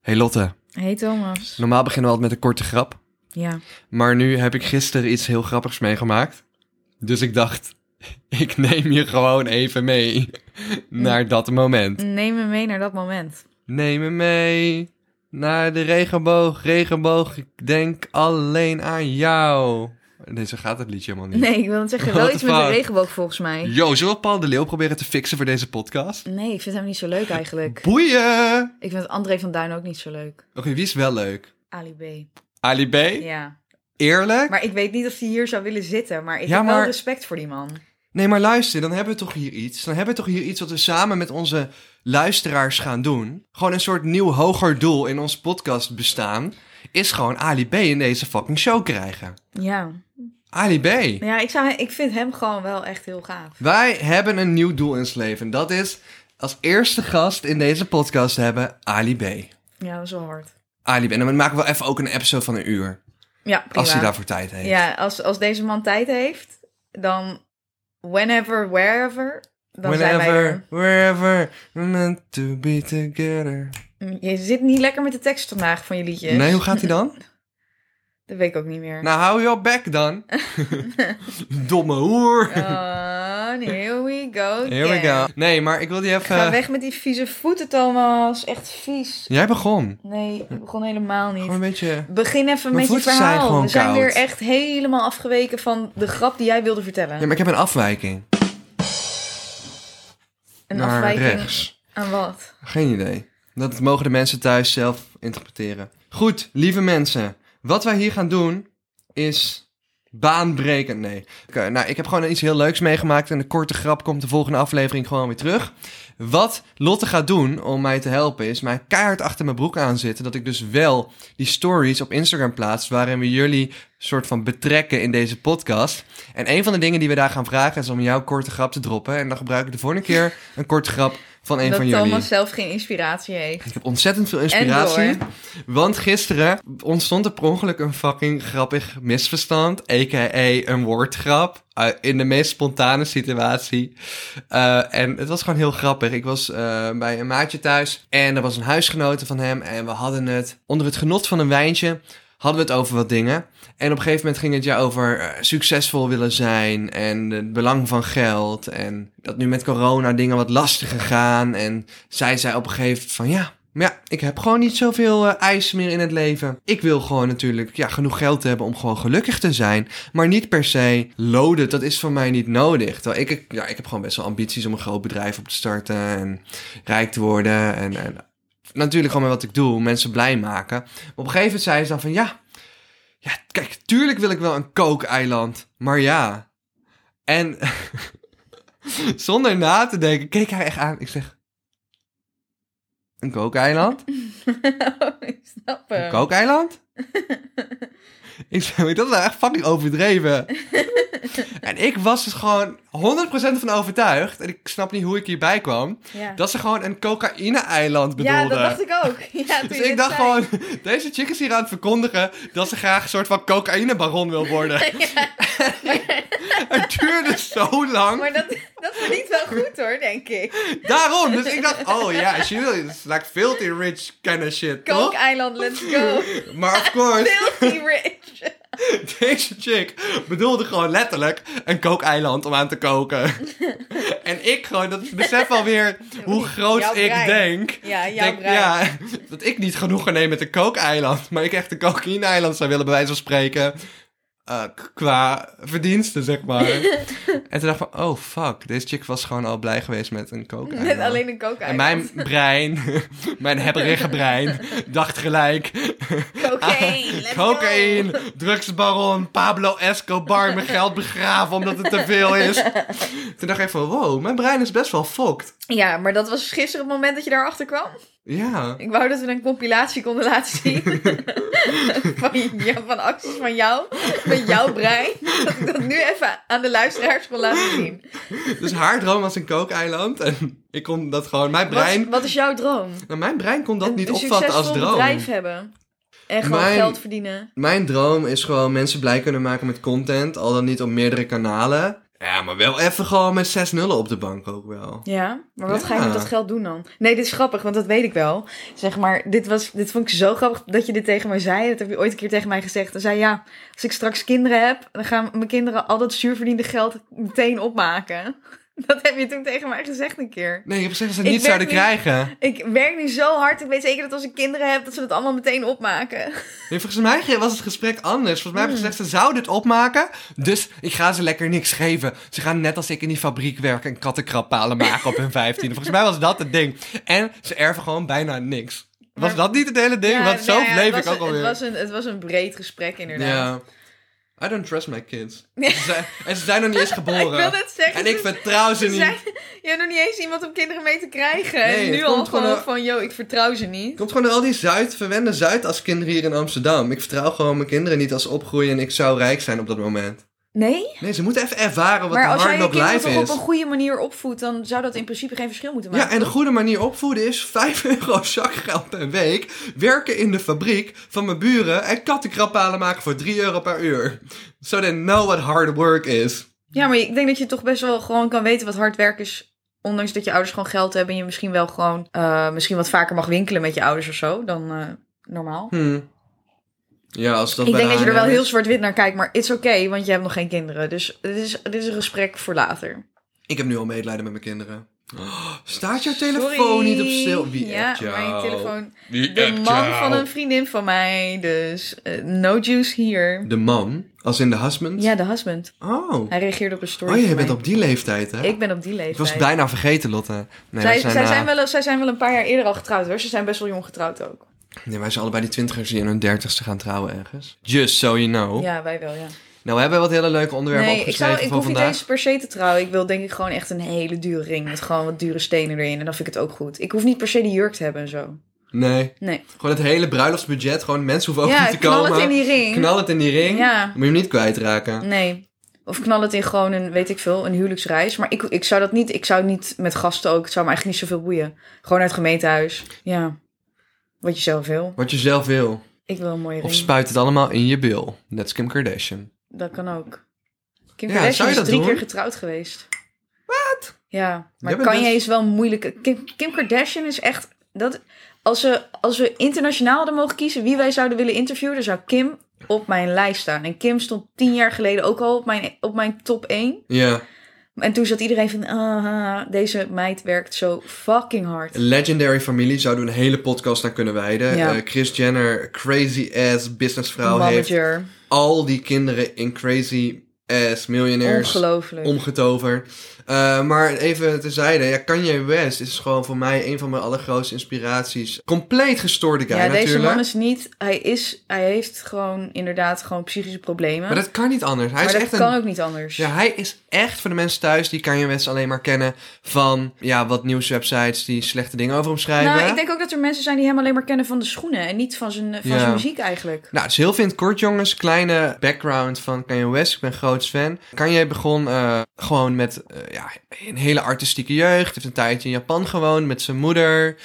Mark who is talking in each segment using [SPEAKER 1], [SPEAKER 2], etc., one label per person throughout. [SPEAKER 1] Hey Lotte,
[SPEAKER 2] Hey Thomas.
[SPEAKER 1] normaal beginnen we altijd met een korte grap.
[SPEAKER 2] Ja.
[SPEAKER 1] Maar nu heb ik gisteren iets heel grappigs meegemaakt. Dus ik dacht, ik neem je gewoon even mee naar dat moment.
[SPEAKER 2] Neem me mee naar dat moment.
[SPEAKER 1] Neem me mee naar de regenboog, regenboog. Ik denk alleen aan jou. Nee, zo gaat het liedje helemaal niet.
[SPEAKER 2] Nee, ik wil het zeggen. Wel
[SPEAKER 1] What
[SPEAKER 2] iets
[SPEAKER 1] the
[SPEAKER 2] met de
[SPEAKER 1] fuck?
[SPEAKER 2] regenboog volgens mij.
[SPEAKER 1] Yo, zullen we Paul de Leeuw proberen te fixen voor deze podcast?
[SPEAKER 2] Nee, ik vind hem niet zo leuk eigenlijk.
[SPEAKER 1] Boeien! Oké,
[SPEAKER 2] Ik vind André van Duin ook niet zo leuk.
[SPEAKER 1] wie is wel leuk?
[SPEAKER 2] Ali B.
[SPEAKER 1] Ali B?
[SPEAKER 2] Ja.
[SPEAKER 1] Eerlijk?
[SPEAKER 2] Maar ik weet niet of hij hier zou willen zitten, maar ik
[SPEAKER 1] Ja,
[SPEAKER 2] heb wel
[SPEAKER 1] maar-
[SPEAKER 2] respect voor die man.
[SPEAKER 1] Nee, maar luister, dan hebben we toch hier iets. Dan hebben we toch hier iets wat we samen met onze luisteraars gaan doen. Gewoon een soort nieuw hoger doel in ons podcast bestaan. Is gewoon Ali B in deze fucking show krijgen.
[SPEAKER 2] Ja.
[SPEAKER 1] Ali B.
[SPEAKER 2] Ja, ik, zou, ik vind hem gewoon wel echt heel gaaf.
[SPEAKER 1] Wij hebben een nieuw doel in ons leven. En dat is als eerste gast in deze podcast te hebben Ali B.
[SPEAKER 2] Ja, dat is wel hard.
[SPEAKER 1] Ali B. En dan maken we wel even ook een episode van een uur.
[SPEAKER 2] Ja, prima.
[SPEAKER 1] Als hij daarvoor tijd heeft.
[SPEAKER 2] Ja, als, als deze man tijd heeft, dan whenever, wherever, dan zijn wij er.
[SPEAKER 1] Whenever, wherever, we're meant to be together.
[SPEAKER 2] Je zit niet lekker met de tekst vandaag van je liedjes.
[SPEAKER 1] Nee, hoe gaat hij dan?
[SPEAKER 2] Dat weet ik ook niet meer.
[SPEAKER 1] Nou, hou je back dan. Domme hoer.
[SPEAKER 2] Oh, here we go.
[SPEAKER 1] Here we
[SPEAKER 2] again.
[SPEAKER 1] go. Eh. Nee, maar ik wil die even...
[SPEAKER 2] Ga weg met die vieze voeten, Thomas. Echt vies.
[SPEAKER 1] Jij begon.
[SPEAKER 2] Nee, ik begon helemaal
[SPEAKER 1] Hm. Gewoon een
[SPEAKER 2] niet.
[SPEAKER 1] beetje...
[SPEAKER 2] Begin even
[SPEAKER 1] Mijn
[SPEAKER 2] met je
[SPEAKER 1] voeten zijn
[SPEAKER 2] verhaal.
[SPEAKER 1] gewoon
[SPEAKER 2] We zijn
[SPEAKER 1] koud.
[SPEAKER 2] weer echt helemaal afgeweken van de grap die jij wilde vertellen.
[SPEAKER 1] Ja, maar ik heb een afwijking.
[SPEAKER 2] Een
[SPEAKER 1] naar
[SPEAKER 2] afwijking
[SPEAKER 1] rechts.
[SPEAKER 2] aan wat?
[SPEAKER 1] Geen idee. Dat mogen de mensen thuis zelf interpreteren. Goed, lieve mensen. Wat wij hier gaan doen is baanbrekend. Nee. Oké, nou, ik heb gewoon iets heel leuks meegemaakt. En de korte grap komt de volgende aflevering gewoon weer terug. Wat Lotte gaat doen om mij te helpen is mij keihard achter mijn broek aanzitten. Dat ik dus wel die stories op Instagram plaats waarin we jullie soort van betrekken in deze podcast. En een van de dingen die we daar gaan vragen is om jouw korte grap te droppen. En dan gebruik ik de volgende keer een korte grap van een
[SPEAKER 2] dat
[SPEAKER 1] van
[SPEAKER 2] Thomas
[SPEAKER 1] jullie.
[SPEAKER 2] zelf geen inspiratie heeft.
[SPEAKER 1] Ik heb ontzettend veel inspiratie.
[SPEAKER 2] En
[SPEAKER 1] Want gisteren ontstond er per ongeluk een fucking grappig misverstand. A.k.a. een woordgrap. eh, in de meest spontane situatie. Eh, en het was gewoon heel grappig. Ik was eh, bij een maatje thuis. En er was een huisgenote van hem. En we hadden het onder het genot van een wijntje. Hadden we het over wat dingen. En op een gegeven moment ging het ja over eh, succesvol willen zijn. En het belang van geld. En dat nu met corona dingen wat lastiger gaan. En zij zei op een gegeven moment van ja, maar ja, ik heb gewoon niet zoveel eh, eisen meer in het leven. Ik wil gewoon natuurlijk ja, genoeg geld hebben om gewoon gelukkig te zijn. Maar niet per se loden, dat is voor mij niet nodig. Terwijl ik- ik, ja, ik heb gewoon best wel ambities om een groot bedrijf op te starten en rijk te worden. En, en natuurlijk gewoon met wat ik doe, mensen blij maken. Maar op een gegeven moment zei ze dan van ja, ja, kijk, tuurlijk wil ik wel een kookeiland, maar ja. En zonder na te denken, keek hij echt aan. Ik zeg, een kookeiland?
[SPEAKER 2] Oh, ik snap hem.
[SPEAKER 1] Een kookeiland? ik zeg, maar dat is nou echt fucking overdreven. en ik was dus gewoon 100% van overtuigd, en ik snap niet hoe ik hierbij kwam,
[SPEAKER 2] Ja.
[SPEAKER 1] dat ze gewoon een cocaïne-eiland bedoelden.
[SPEAKER 2] ja, dat dacht ik ook. Ja, toen
[SPEAKER 1] Dus
[SPEAKER 2] je
[SPEAKER 1] ik
[SPEAKER 2] dit
[SPEAKER 1] dacht
[SPEAKER 2] zei.
[SPEAKER 1] gewoon, deze chick is hier aan het verkondigen dat ze graag een soort van cocaïnebaron wil worden.
[SPEAKER 2] Ja,
[SPEAKER 1] Het duurde zo lang.
[SPEAKER 2] maar dat, dat verdient wel goed hoor, denk ik.
[SPEAKER 1] Daarom, dus ik dacht, oh ja, she really is like filthy rich kind of shit, toch?
[SPEAKER 2] Kookeiland, let's go.
[SPEAKER 1] Maar of course,
[SPEAKER 2] Filthy rich.
[SPEAKER 1] deze chick bedoelde gewoon letterlijk een kookeiland om aan te koken. En ik gewoon, dat besef alweer hoe groot
[SPEAKER 2] Jouw
[SPEAKER 1] ik
[SPEAKER 2] brein.
[SPEAKER 1] denk.
[SPEAKER 2] Ja,
[SPEAKER 1] Ik
[SPEAKER 2] jouw
[SPEAKER 1] denk,
[SPEAKER 2] brein.
[SPEAKER 1] ja, dat ik niet genoegen neem met een kookeiland, maar ik echt een cocaïne-eiland zou willen, bij wijze van spreken. eh, k- qua verdiensten, zeg maar. en toen dacht ik van, oh fuck, deze chick was gewoon al blij geweest met een kookeiland.
[SPEAKER 2] Met alleen een
[SPEAKER 1] En
[SPEAKER 2] kookeiland.
[SPEAKER 1] mijn brein, mijn hebberige brein, dacht gelijk...
[SPEAKER 2] Cocaine, let's go.
[SPEAKER 1] Cocaïne, drugsbaron, Pablo Escobar, mijn geld begraven omdat het te veel is. Toen dacht ik van, wow, mijn brein is best wel fokt.
[SPEAKER 2] Ja, maar dat was gisteren het moment dat je daarachter kwam.
[SPEAKER 1] Ja.
[SPEAKER 2] Ik wou dat we een compilatie konden laten zien. van, ja, van acties van jou, met jouw brein. Dat ik dat nu even aan de luisteraars kon laten zien.
[SPEAKER 1] Dus haar droom was een kookeiland en ik kon dat gewoon... Mijn brein,
[SPEAKER 2] Wat, wat is jouw droom?
[SPEAKER 1] nou, mijn brein kon dat
[SPEAKER 2] Een-
[SPEAKER 1] niet
[SPEAKER 2] een
[SPEAKER 1] opvatten als
[SPEAKER 2] succesvol
[SPEAKER 1] droom.
[SPEAKER 2] bedrijf hebben. En gewoon
[SPEAKER 1] Mijn-
[SPEAKER 2] geld verdienen.
[SPEAKER 1] Mijn droom is gewoon mensen blij kunnen maken met content, al dan niet op meerdere kanalen. Ja, maar wel even gewoon met 6 nullen op de bank ook wel.
[SPEAKER 2] Ja, maar wat ga je
[SPEAKER 1] Ja.
[SPEAKER 2] met dat geld doen dan? Nee, dit is grappig, want dat weet ik wel. Zeg maar, dit, was, dit vond ik zo grappig dat je dit tegen mij zei. Dat heb je ooit een keer tegen mij gezegd. Dan zei je, ja, als ik straks kinderen heb, dan gaan mijn kinderen al dat zuurverdiende geld meteen opmaken. Dat heb je toen tegen mij gezegd een keer.
[SPEAKER 1] Nee, je hebt gezegd dat ze
[SPEAKER 2] Ik
[SPEAKER 1] het niet zouden
[SPEAKER 2] werk
[SPEAKER 1] krijgen.
[SPEAKER 2] Ik werk nu zo hard, ik weet zeker dat als ik kinderen heb, dat ze dat allemaal meteen opmaken.
[SPEAKER 1] Nee, volgens mij was het gesprek anders. Volgens mij hebben ze
[SPEAKER 2] Hmm.
[SPEAKER 1] gezegd, ze zouden het opmaken. Dus ik ga ze lekker niks geven. Ze gaan net als ik in die fabriek werken en kattenkrappalen maken op hun 15. Volgens mij was dat het ding. En ze erven gewoon bijna niks. Was
[SPEAKER 2] Maar-
[SPEAKER 1] dat niet het hele ding?
[SPEAKER 2] Ja,
[SPEAKER 1] Want zo
[SPEAKER 2] nou ja,
[SPEAKER 1] bleef ik
[SPEAKER 2] het was
[SPEAKER 1] ook
[SPEAKER 2] een-
[SPEAKER 1] alweer.
[SPEAKER 2] Het was, een, het was een breed gesprek inderdaad.
[SPEAKER 1] Ja. I don't trust my kids.
[SPEAKER 2] Nee.
[SPEAKER 1] Ze zijn- en ze zijn nog niet eens
[SPEAKER 2] Ik wil
[SPEAKER 1] geboren.
[SPEAKER 2] net zeggen.
[SPEAKER 1] En ik vertrouw ze
[SPEAKER 2] Ze
[SPEAKER 1] niet.
[SPEAKER 2] zijn- je hebt nog niet eens iemand om kinderen mee te krijgen.
[SPEAKER 1] Nee,
[SPEAKER 2] en nu
[SPEAKER 1] het
[SPEAKER 2] al
[SPEAKER 1] komt
[SPEAKER 2] gewoon
[SPEAKER 1] gewoon, eh,
[SPEAKER 2] van, yo, ik vertrouw ze niet.
[SPEAKER 1] Komt gewoon door al die Zuid, verwende Zuidas-kinderen hier in Amsterdam. Ik vertrouw gewoon mijn kinderen niet als ze opgroeien en ik zou rijk zijn op dat moment.
[SPEAKER 2] Nee,
[SPEAKER 1] Nee, ze moeten even ervaren wat
[SPEAKER 2] maar
[SPEAKER 1] de
[SPEAKER 2] als
[SPEAKER 1] hard
[SPEAKER 2] jij je
[SPEAKER 1] knock
[SPEAKER 2] kinderen
[SPEAKER 1] life
[SPEAKER 2] toch op
[SPEAKER 1] is.
[SPEAKER 2] een goede manier opvoedt, dan zou dat in principe geen verschil moeten
[SPEAKER 1] Ja,
[SPEAKER 2] maken.
[SPEAKER 1] en de goede manier opvoeden is 5 euro zakgeld per week, werken in de fabriek van mijn buren en kattenkrappalen maken voor 3 euro per uur. So they know what hard work is.
[SPEAKER 2] Ja, maar ik denk dat je toch best wel gewoon kan weten wat hard werk is. Ondanks dat je ouders gewoon geld hebben en je misschien wel gewoon eh, misschien wat vaker mag winkelen met je ouders of zo dan eh, normaal.
[SPEAKER 1] Hm. Ja, als dat
[SPEAKER 2] Ik
[SPEAKER 1] bij
[SPEAKER 2] denk
[SPEAKER 1] de
[SPEAKER 2] dat je er wel
[SPEAKER 1] aannemer
[SPEAKER 2] heel
[SPEAKER 1] is.
[SPEAKER 2] zwart-wit naar kijkt, maar it's oké, want je hebt nog geen kinderen. Dus dit is, dit is een gesprek voor later.
[SPEAKER 1] Ik heb nu al medelijden met mijn kinderen. Oh, staat jouw telefoon niet op stil? Wie
[SPEAKER 2] ja,
[SPEAKER 1] appt jou?
[SPEAKER 2] mijn telefoon.
[SPEAKER 1] Wie
[SPEAKER 2] De
[SPEAKER 1] appt
[SPEAKER 2] man
[SPEAKER 1] jou?
[SPEAKER 2] van een vriendin van mij, dus eh, no juice hier.
[SPEAKER 1] De man? Als in de husband?
[SPEAKER 2] Ja, de husband.
[SPEAKER 1] Oh.
[SPEAKER 2] Hij reageerde op een story.
[SPEAKER 1] Oh, jij
[SPEAKER 2] van
[SPEAKER 1] bent
[SPEAKER 2] mij.
[SPEAKER 1] op die leeftijd, hè?
[SPEAKER 2] Ik ben op die
[SPEAKER 1] Ik was
[SPEAKER 2] leeftijd.
[SPEAKER 1] het bijna vergeten, Lotte. Nee, wij
[SPEAKER 2] zij, zijn
[SPEAKER 1] zijn,
[SPEAKER 2] zij,
[SPEAKER 1] eh,
[SPEAKER 2] zijn wel, zij zijn wel een paar jaar eerder al getrouwd hoor. Ze zijn best wel jong getrouwd ook.
[SPEAKER 1] nee, wij zijn allebei die twintigers die in hun dertigste gaan trouwen ergens. Just so you know.
[SPEAKER 2] Ja, wij wel, ja.
[SPEAKER 1] Nou, Oh. we hebben wat hele leuke onderwerpen
[SPEAKER 2] Nee, ik,
[SPEAKER 1] opgeschreven
[SPEAKER 2] zou, ik
[SPEAKER 1] voor
[SPEAKER 2] hoef niet
[SPEAKER 1] vandaag.
[SPEAKER 2] eens per se te trouwen. Ik wil denk ik gewoon echt een hele dure ring met gewoon wat dure stenen erin. En dan vind ik het ook goed. Ik hoef niet per se die jurk te hebben en zo.
[SPEAKER 1] Nee,
[SPEAKER 2] Nee.
[SPEAKER 1] gewoon het hele bruiloftsbudget. Gewoon mensen hoeven ook
[SPEAKER 2] ja,
[SPEAKER 1] niet te
[SPEAKER 2] knal
[SPEAKER 1] komen.
[SPEAKER 2] het in die ring.
[SPEAKER 1] Knal het in die ring.
[SPEAKER 2] Ja. Mm.
[SPEAKER 1] Moet je hem niet kwijtraken.
[SPEAKER 2] Nee. Of knal het in gewoon een, weet ik veel, een huwelijksreis. Maar ik, ik zou dat niet, ik zou niet met gasten ook, het zou me eigenlijk niet zoveel boeien. Gewoon uit gemeentehuis. Ja. Wat je zelf wil.
[SPEAKER 1] Wat je zelf wil.
[SPEAKER 2] Ik wil een mooie
[SPEAKER 1] Of
[SPEAKER 2] ring.
[SPEAKER 1] spuit het allemaal in je bil. Net als Kim Kardashian.
[SPEAKER 2] dat kan ook. Kim
[SPEAKER 1] Ja,
[SPEAKER 2] Kardashian
[SPEAKER 1] zou je
[SPEAKER 2] is
[SPEAKER 1] dat
[SPEAKER 2] drie
[SPEAKER 1] doen?
[SPEAKER 2] keer getrouwd geweest. Wat? Ja, maar
[SPEAKER 1] Jij bent
[SPEAKER 2] kan je
[SPEAKER 1] best-
[SPEAKER 2] eens wel moeilijk... Kim, Kim Kardashian is echt... Dat, als, we, als we internationaal hadden mogen kiezen wie wij zouden willen interviewen... dan zou Kim op mijn lijst staan. En Kim stond tien jaar geleden ook al op mijn, op mijn top 1.
[SPEAKER 1] Ja.
[SPEAKER 2] En toen zat iedereen van, ah, deze meid werkt zo fucking hard.
[SPEAKER 1] Legendary familie zouden we een hele podcast naar kunnen wijden.
[SPEAKER 2] Ja.
[SPEAKER 1] Eh, Chris Jenner, crazy ass businessvrouw, heeft
[SPEAKER 2] Manager,
[SPEAKER 1] al die kinderen in crazy ass miljonairs
[SPEAKER 2] ongelooflijk.
[SPEAKER 1] omgetoverd. Eh, maar even terzijde, ja, Kanye West is gewoon voor mij een van mijn allergrootste inspiraties. Compleet gestoorde guy
[SPEAKER 2] ja, deze
[SPEAKER 1] natuurlijk.
[SPEAKER 2] man is niet, hij is, hij heeft gewoon inderdaad gewoon psychische problemen.
[SPEAKER 1] Maar dat kan niet anders. Hij
[SPEAKER 2] Maar
[SPEAKER 1] is
[SPEAKER 2] dat
[SPEAKER 1] echt
[SPEAKER 2] kan
[SPEAKER 1] een...
[SPEAKER 2] ook niet anders.
[SPEAKER 1] Ja, hij is echt voor de mensen thuis die Kanye West alleen maar kennen van ja, wat nieuwswebsites die slechte dingen over hem schrijven.
[SPEAKER 2] nou, ik denk ook dat er mensen zijn die hem alleen maar kennen van de schoenen en niet van zijn, van
[SPEAKER 1] Ja.
[SPEAKER 2] zijn muziek eigenlijk.
[SPEAKER 1] Nou, het is heel veel in het kort, jongens. Kleine background van Kanye West. Ik ben groot fan. Kanye begon eh, gewoon met eh, ja, een hele artistieke jeugd. Heeft een tijdje in Japan gewoond met zijn moeder.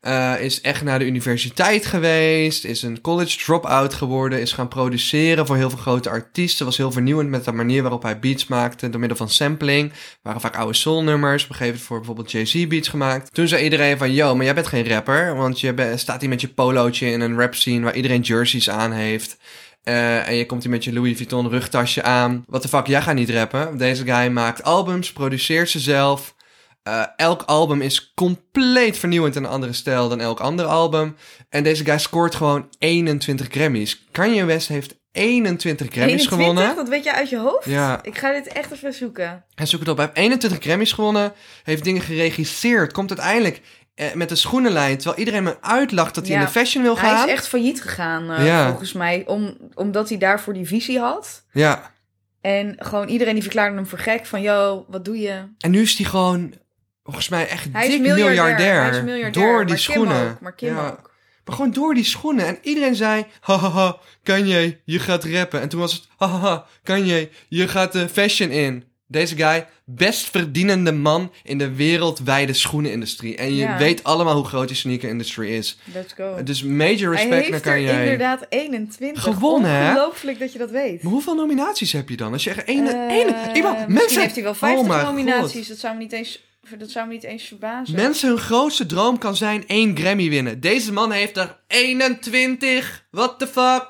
[SPEAKER 1] Eh, is echt naar de universiteit geweest. Is een college drop-out geworden. Is gaan produceren voor heel veel grote artiesten. Was heel vernieuwend met de manier waarop hij beats maakte. Door middel van sampling. Waren vaak oude soulnummers. Op een gegeven moment voor bijvoorbeeld Jay-Z beats gemaakt. Toen zei iedereen van... Yo, maar jij bent geen rapper. Want je bent- staat hier met je polootje in een rap scene... waar iedereen jerseys aan heeft. Eh, en je komt hier met je Louis Vuitton rugtasje aan. What the fuck, jij gaat niet rappen. Deze guy maakt albums, produceert ze zelf. Eh, elk album is compleet vernieuwend en een andere stijl dan elk ander album. En deze guy scoort gewoon 21 Grammys. Kanye West heeft 21 Grammys
[SPEAKER 2] 21,
[SPEAKER 1] gewonnen.
[SPEAKER 2] dat weet je uit je hoofd?
[SPEAKER 1] Ja.
[SPEAKER 2] Ik ga dit echt even zoeken.
[SPEAKER 1] Hij zoekt het op. Hij heeft 21 Grammys gewonnen. Heeft dingen geregisseerd. Komt uiteindelijk eh, met de schoenenlijn. Terwijl iedereen me uitlacht dat hij
[SPEAKER 2] Ja.
[SPEAKER 1] in de fashion wil gaan.
[SPEAKER 2] Hij is echt failliet gegaan, eh,
[SPEAKER 1] Ja.
[SPEAKER 2] volgens mij, om, omdat hij daarvoor die visie had.
[SPEAKER 1] Ja.
[SPEAKER 2] En gewoon iedereen die verklaarde hem voor gek van, yo, wat doe je?
[SPEAKER 1] En nu is hij gewoon, volgens mij, echt
[SPEAKER 2] Hij
[SPEAKER 1] dik
[SPEAKER 2] is miljardair. Hij is miljardair.
[SPEAKER 1] Door die
[SPEAKER 2] maar
[SPEAKER 1] schoenen.
[SPEAKER 2] Kim ook, maar Kim
[SPEAKER 1] Ja.
[SPEAKER 2] ook.
[SPEAKER 1] Maar gewoon door die schoenen. En iedereen zei, hahaha, Kanye, je gaat rappen. En toen was het, hahaha, Kanye, je gaat de fashion in. Deze guy, best verdienende man in de wereldwijde schoenenindustrie. En je
[SPEAKER 2] Ja.
[SPEAKER 1] weet allemaal hoe groot die sneaker-industrie is.
[SPEAKER 2] Let's go.
[SPEAKER 1] Dus major
[SPEAKER 2] Hij
[SPEAKER 1] respect naar
[SPEAKER 2] heeft er
[SPEAKER 1] Kanye.
[SPEAKER 2] inderdaad 21.
[SPEAKER 1] Gewonnen, hè?
[SPEAKER 2] Ongelooflijk dat je dat weet.
[SPEAKER 1] Maar hoeveel nominaties heb je dan? Als je echt één...
[SPEAKER 2] Eh,
[SPEAKER 1] één iemand,
[SPEAKER 2] misschien
[SPEAKER 1] mensen,
[SPEAKER 2] heeft hij wel
[SPEAKER 1] Oh
[SPEAKER 2] 50
[SPEAKER 1] mijn
[SPEAKER 2] nominaties.
[SPEAKER 1] God.
[SPEAKER 2] Dat zou me niet eens, dat zou me niet eens verbazen.
[SPEAKER 1] Mensen, hun grootste droom kan zijn één Grammy winnen. Deze man heeft er 21. What the fuck?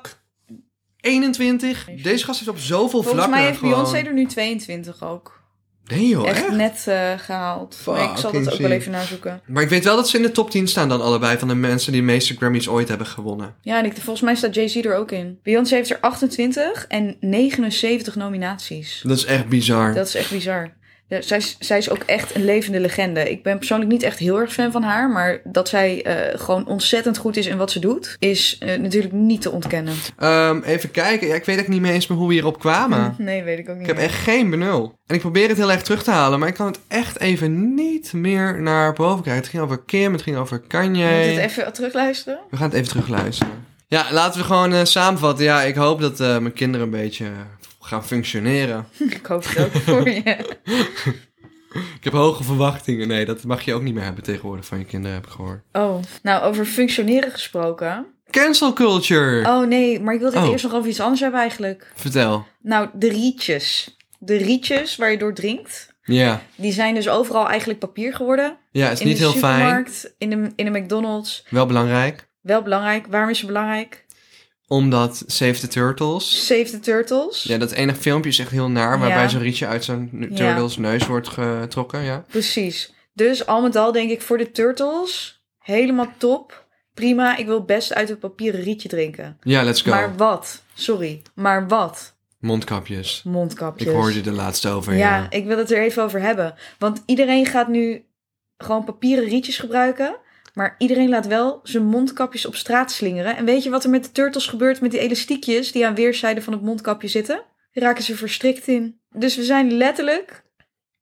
[SPEAKER 1] 21? Deze gast heeft op zoveel
[SPEAKER 2] Volgens
[SPEAKER 1] vlakken
[SPEAKER 2] mij heeft
[SPEAKER 1] gewoon...
[SPEAKER 2] Beyoncé er nu 22 ook.
[SPEAKER 1] Nee joh,
[SPEAKER 2] echt,
[SPEAKER 1] echt?
[SPEAKER 2] net eh, gehaald. Maar ik zal dat
[SPEAKER 1] Fucking
[SPEAKER 2] ook wel
[SPEAKER 1] zie.
[SPEAKER 2] even nazoeken.
[SPEAKER 1] Maar ik weet wel dat ze in de top 10 staan dan allebei... van de mensen die de meeste Grammys ooit hebben gewonnen.
[SPEAKER 2] Ja, en ik, volgens mij staat Jay-Z er ook in. Beyoncé heeft er 28 en 79 nominaties.
[SPEAKER 1] Dat is echt bizar.
[SPEAKER 2] Dat is echt bizar. Ja, Zij is, zij is ook echt een levende legende. Ik ben persoonlijk niet echt heel erg fan van haar. Maar dat zij eh, gewoon ontzettend goed is in wat ze doet, is eh, natuurlijk niet te ontkennen.
[SPEAKER 1] Ehm, even kijken. Ja, ik weet echt niet meer eens meer hoe we hierop kwamen.
[SPEAKER 2] Nee, weet ik ook niet.
[SPEAKER 1] Ik heb echt geen benul. En ik probeer het heel erg terug te halen... maar ik kan het echt even niet meer naar boven krijgen. Het ging over Kim, het ging over Kanye.
[SPEAKER 2] meer. Moet je het even terugluisteren?
[SPEAKER 1] We gaan het even terugluisteren. Ja, laten we gewoon eh, samenvatten. Ja, ik hoop dat eh, mijn kinderen een beetje eh, gaan functioneren.
[SPEAKER 2] Ik hoop het ook voor je.
[SPEAKER 1] Ik heb hoge verwachtingen. Nee, dat mag je ook niet meer hebben tegenwoordig van je kinderen, heb ik gehoord.
[SPEAKER 2] Oh, nou over functioneren gesproken.
[SPEAKER 1] Cancel culture!
[SPEAKER 2] Oh nee, maar ik wilde het
[SPEAKER 1] Oh.
[SPEAKER 2] eerst nog over iets anders hebben eigenlijk.
[SPEAKER 1] Vertel.
[SPEAKER 2] Nou, de rietjes. De rietjes waar je door drinkt.
[SPEAKER 1] Ja.
[SPEAKER 2] Die zijn dus overal eigenlijk papier geworden.
[SPEAKER 1] Ja, het is
[SPEAKER 2] in
[SPEAKER 1] niet
[SPEAKER 2] de
[SPEAKER 1] heel fijn.
[SPEAKER 2] supermarkt, in de, in de McDonald's.
[SPEAKER 1] Wel belangrijk.
[SPEAKER 2] Wel belangrijk. Waarom is ze belangrijk?
[SPEAKER 1] Omdat Save the Turtles...
[SPEAKER 2] Save the Turtles.
[SPEAKER 1] Ja, dat ene filmpje is echt heel naar, waarbij
[SPEAKER 2] Ja.
[SPEAKER 1] zo'n rietje uit zo'n nu-
[SPEAKER 2] Ja.
[SPEAKER 1] turtles neus wordt getrokken, ja.
[SPEAKER 2] Precies. Dus al met al denk ik voor de Turtles helemaal top. Prima, ik wil best uit het papieren rietje drinken.
[SPEAKER 1] Ja, let's go.
[SPEAKER 2] Maar wat? Sorry. Maar wat?
[SPEAKER 1] Mondkapjes.
[SPEAKER 2] Mondkapjes.
[SPEAKER 1] Ik hoorde de laatste over,
[SPEAKER 2] Ja,
[SPEAKER 1] ja.
[SPEAKER 2] ik wil het er even over hebben. Want iedereen gaat nu gewoon papieren rietjes gebruiken. Maar iedereen laat wel zijn mondkapjes op straat slingeren. En weet je wat er met de turtles gebeurt met die elastiekjes die aan weerszijden van het mondkapje zitten? Die raken ze verstrikt in. Dus we zijn letterlijk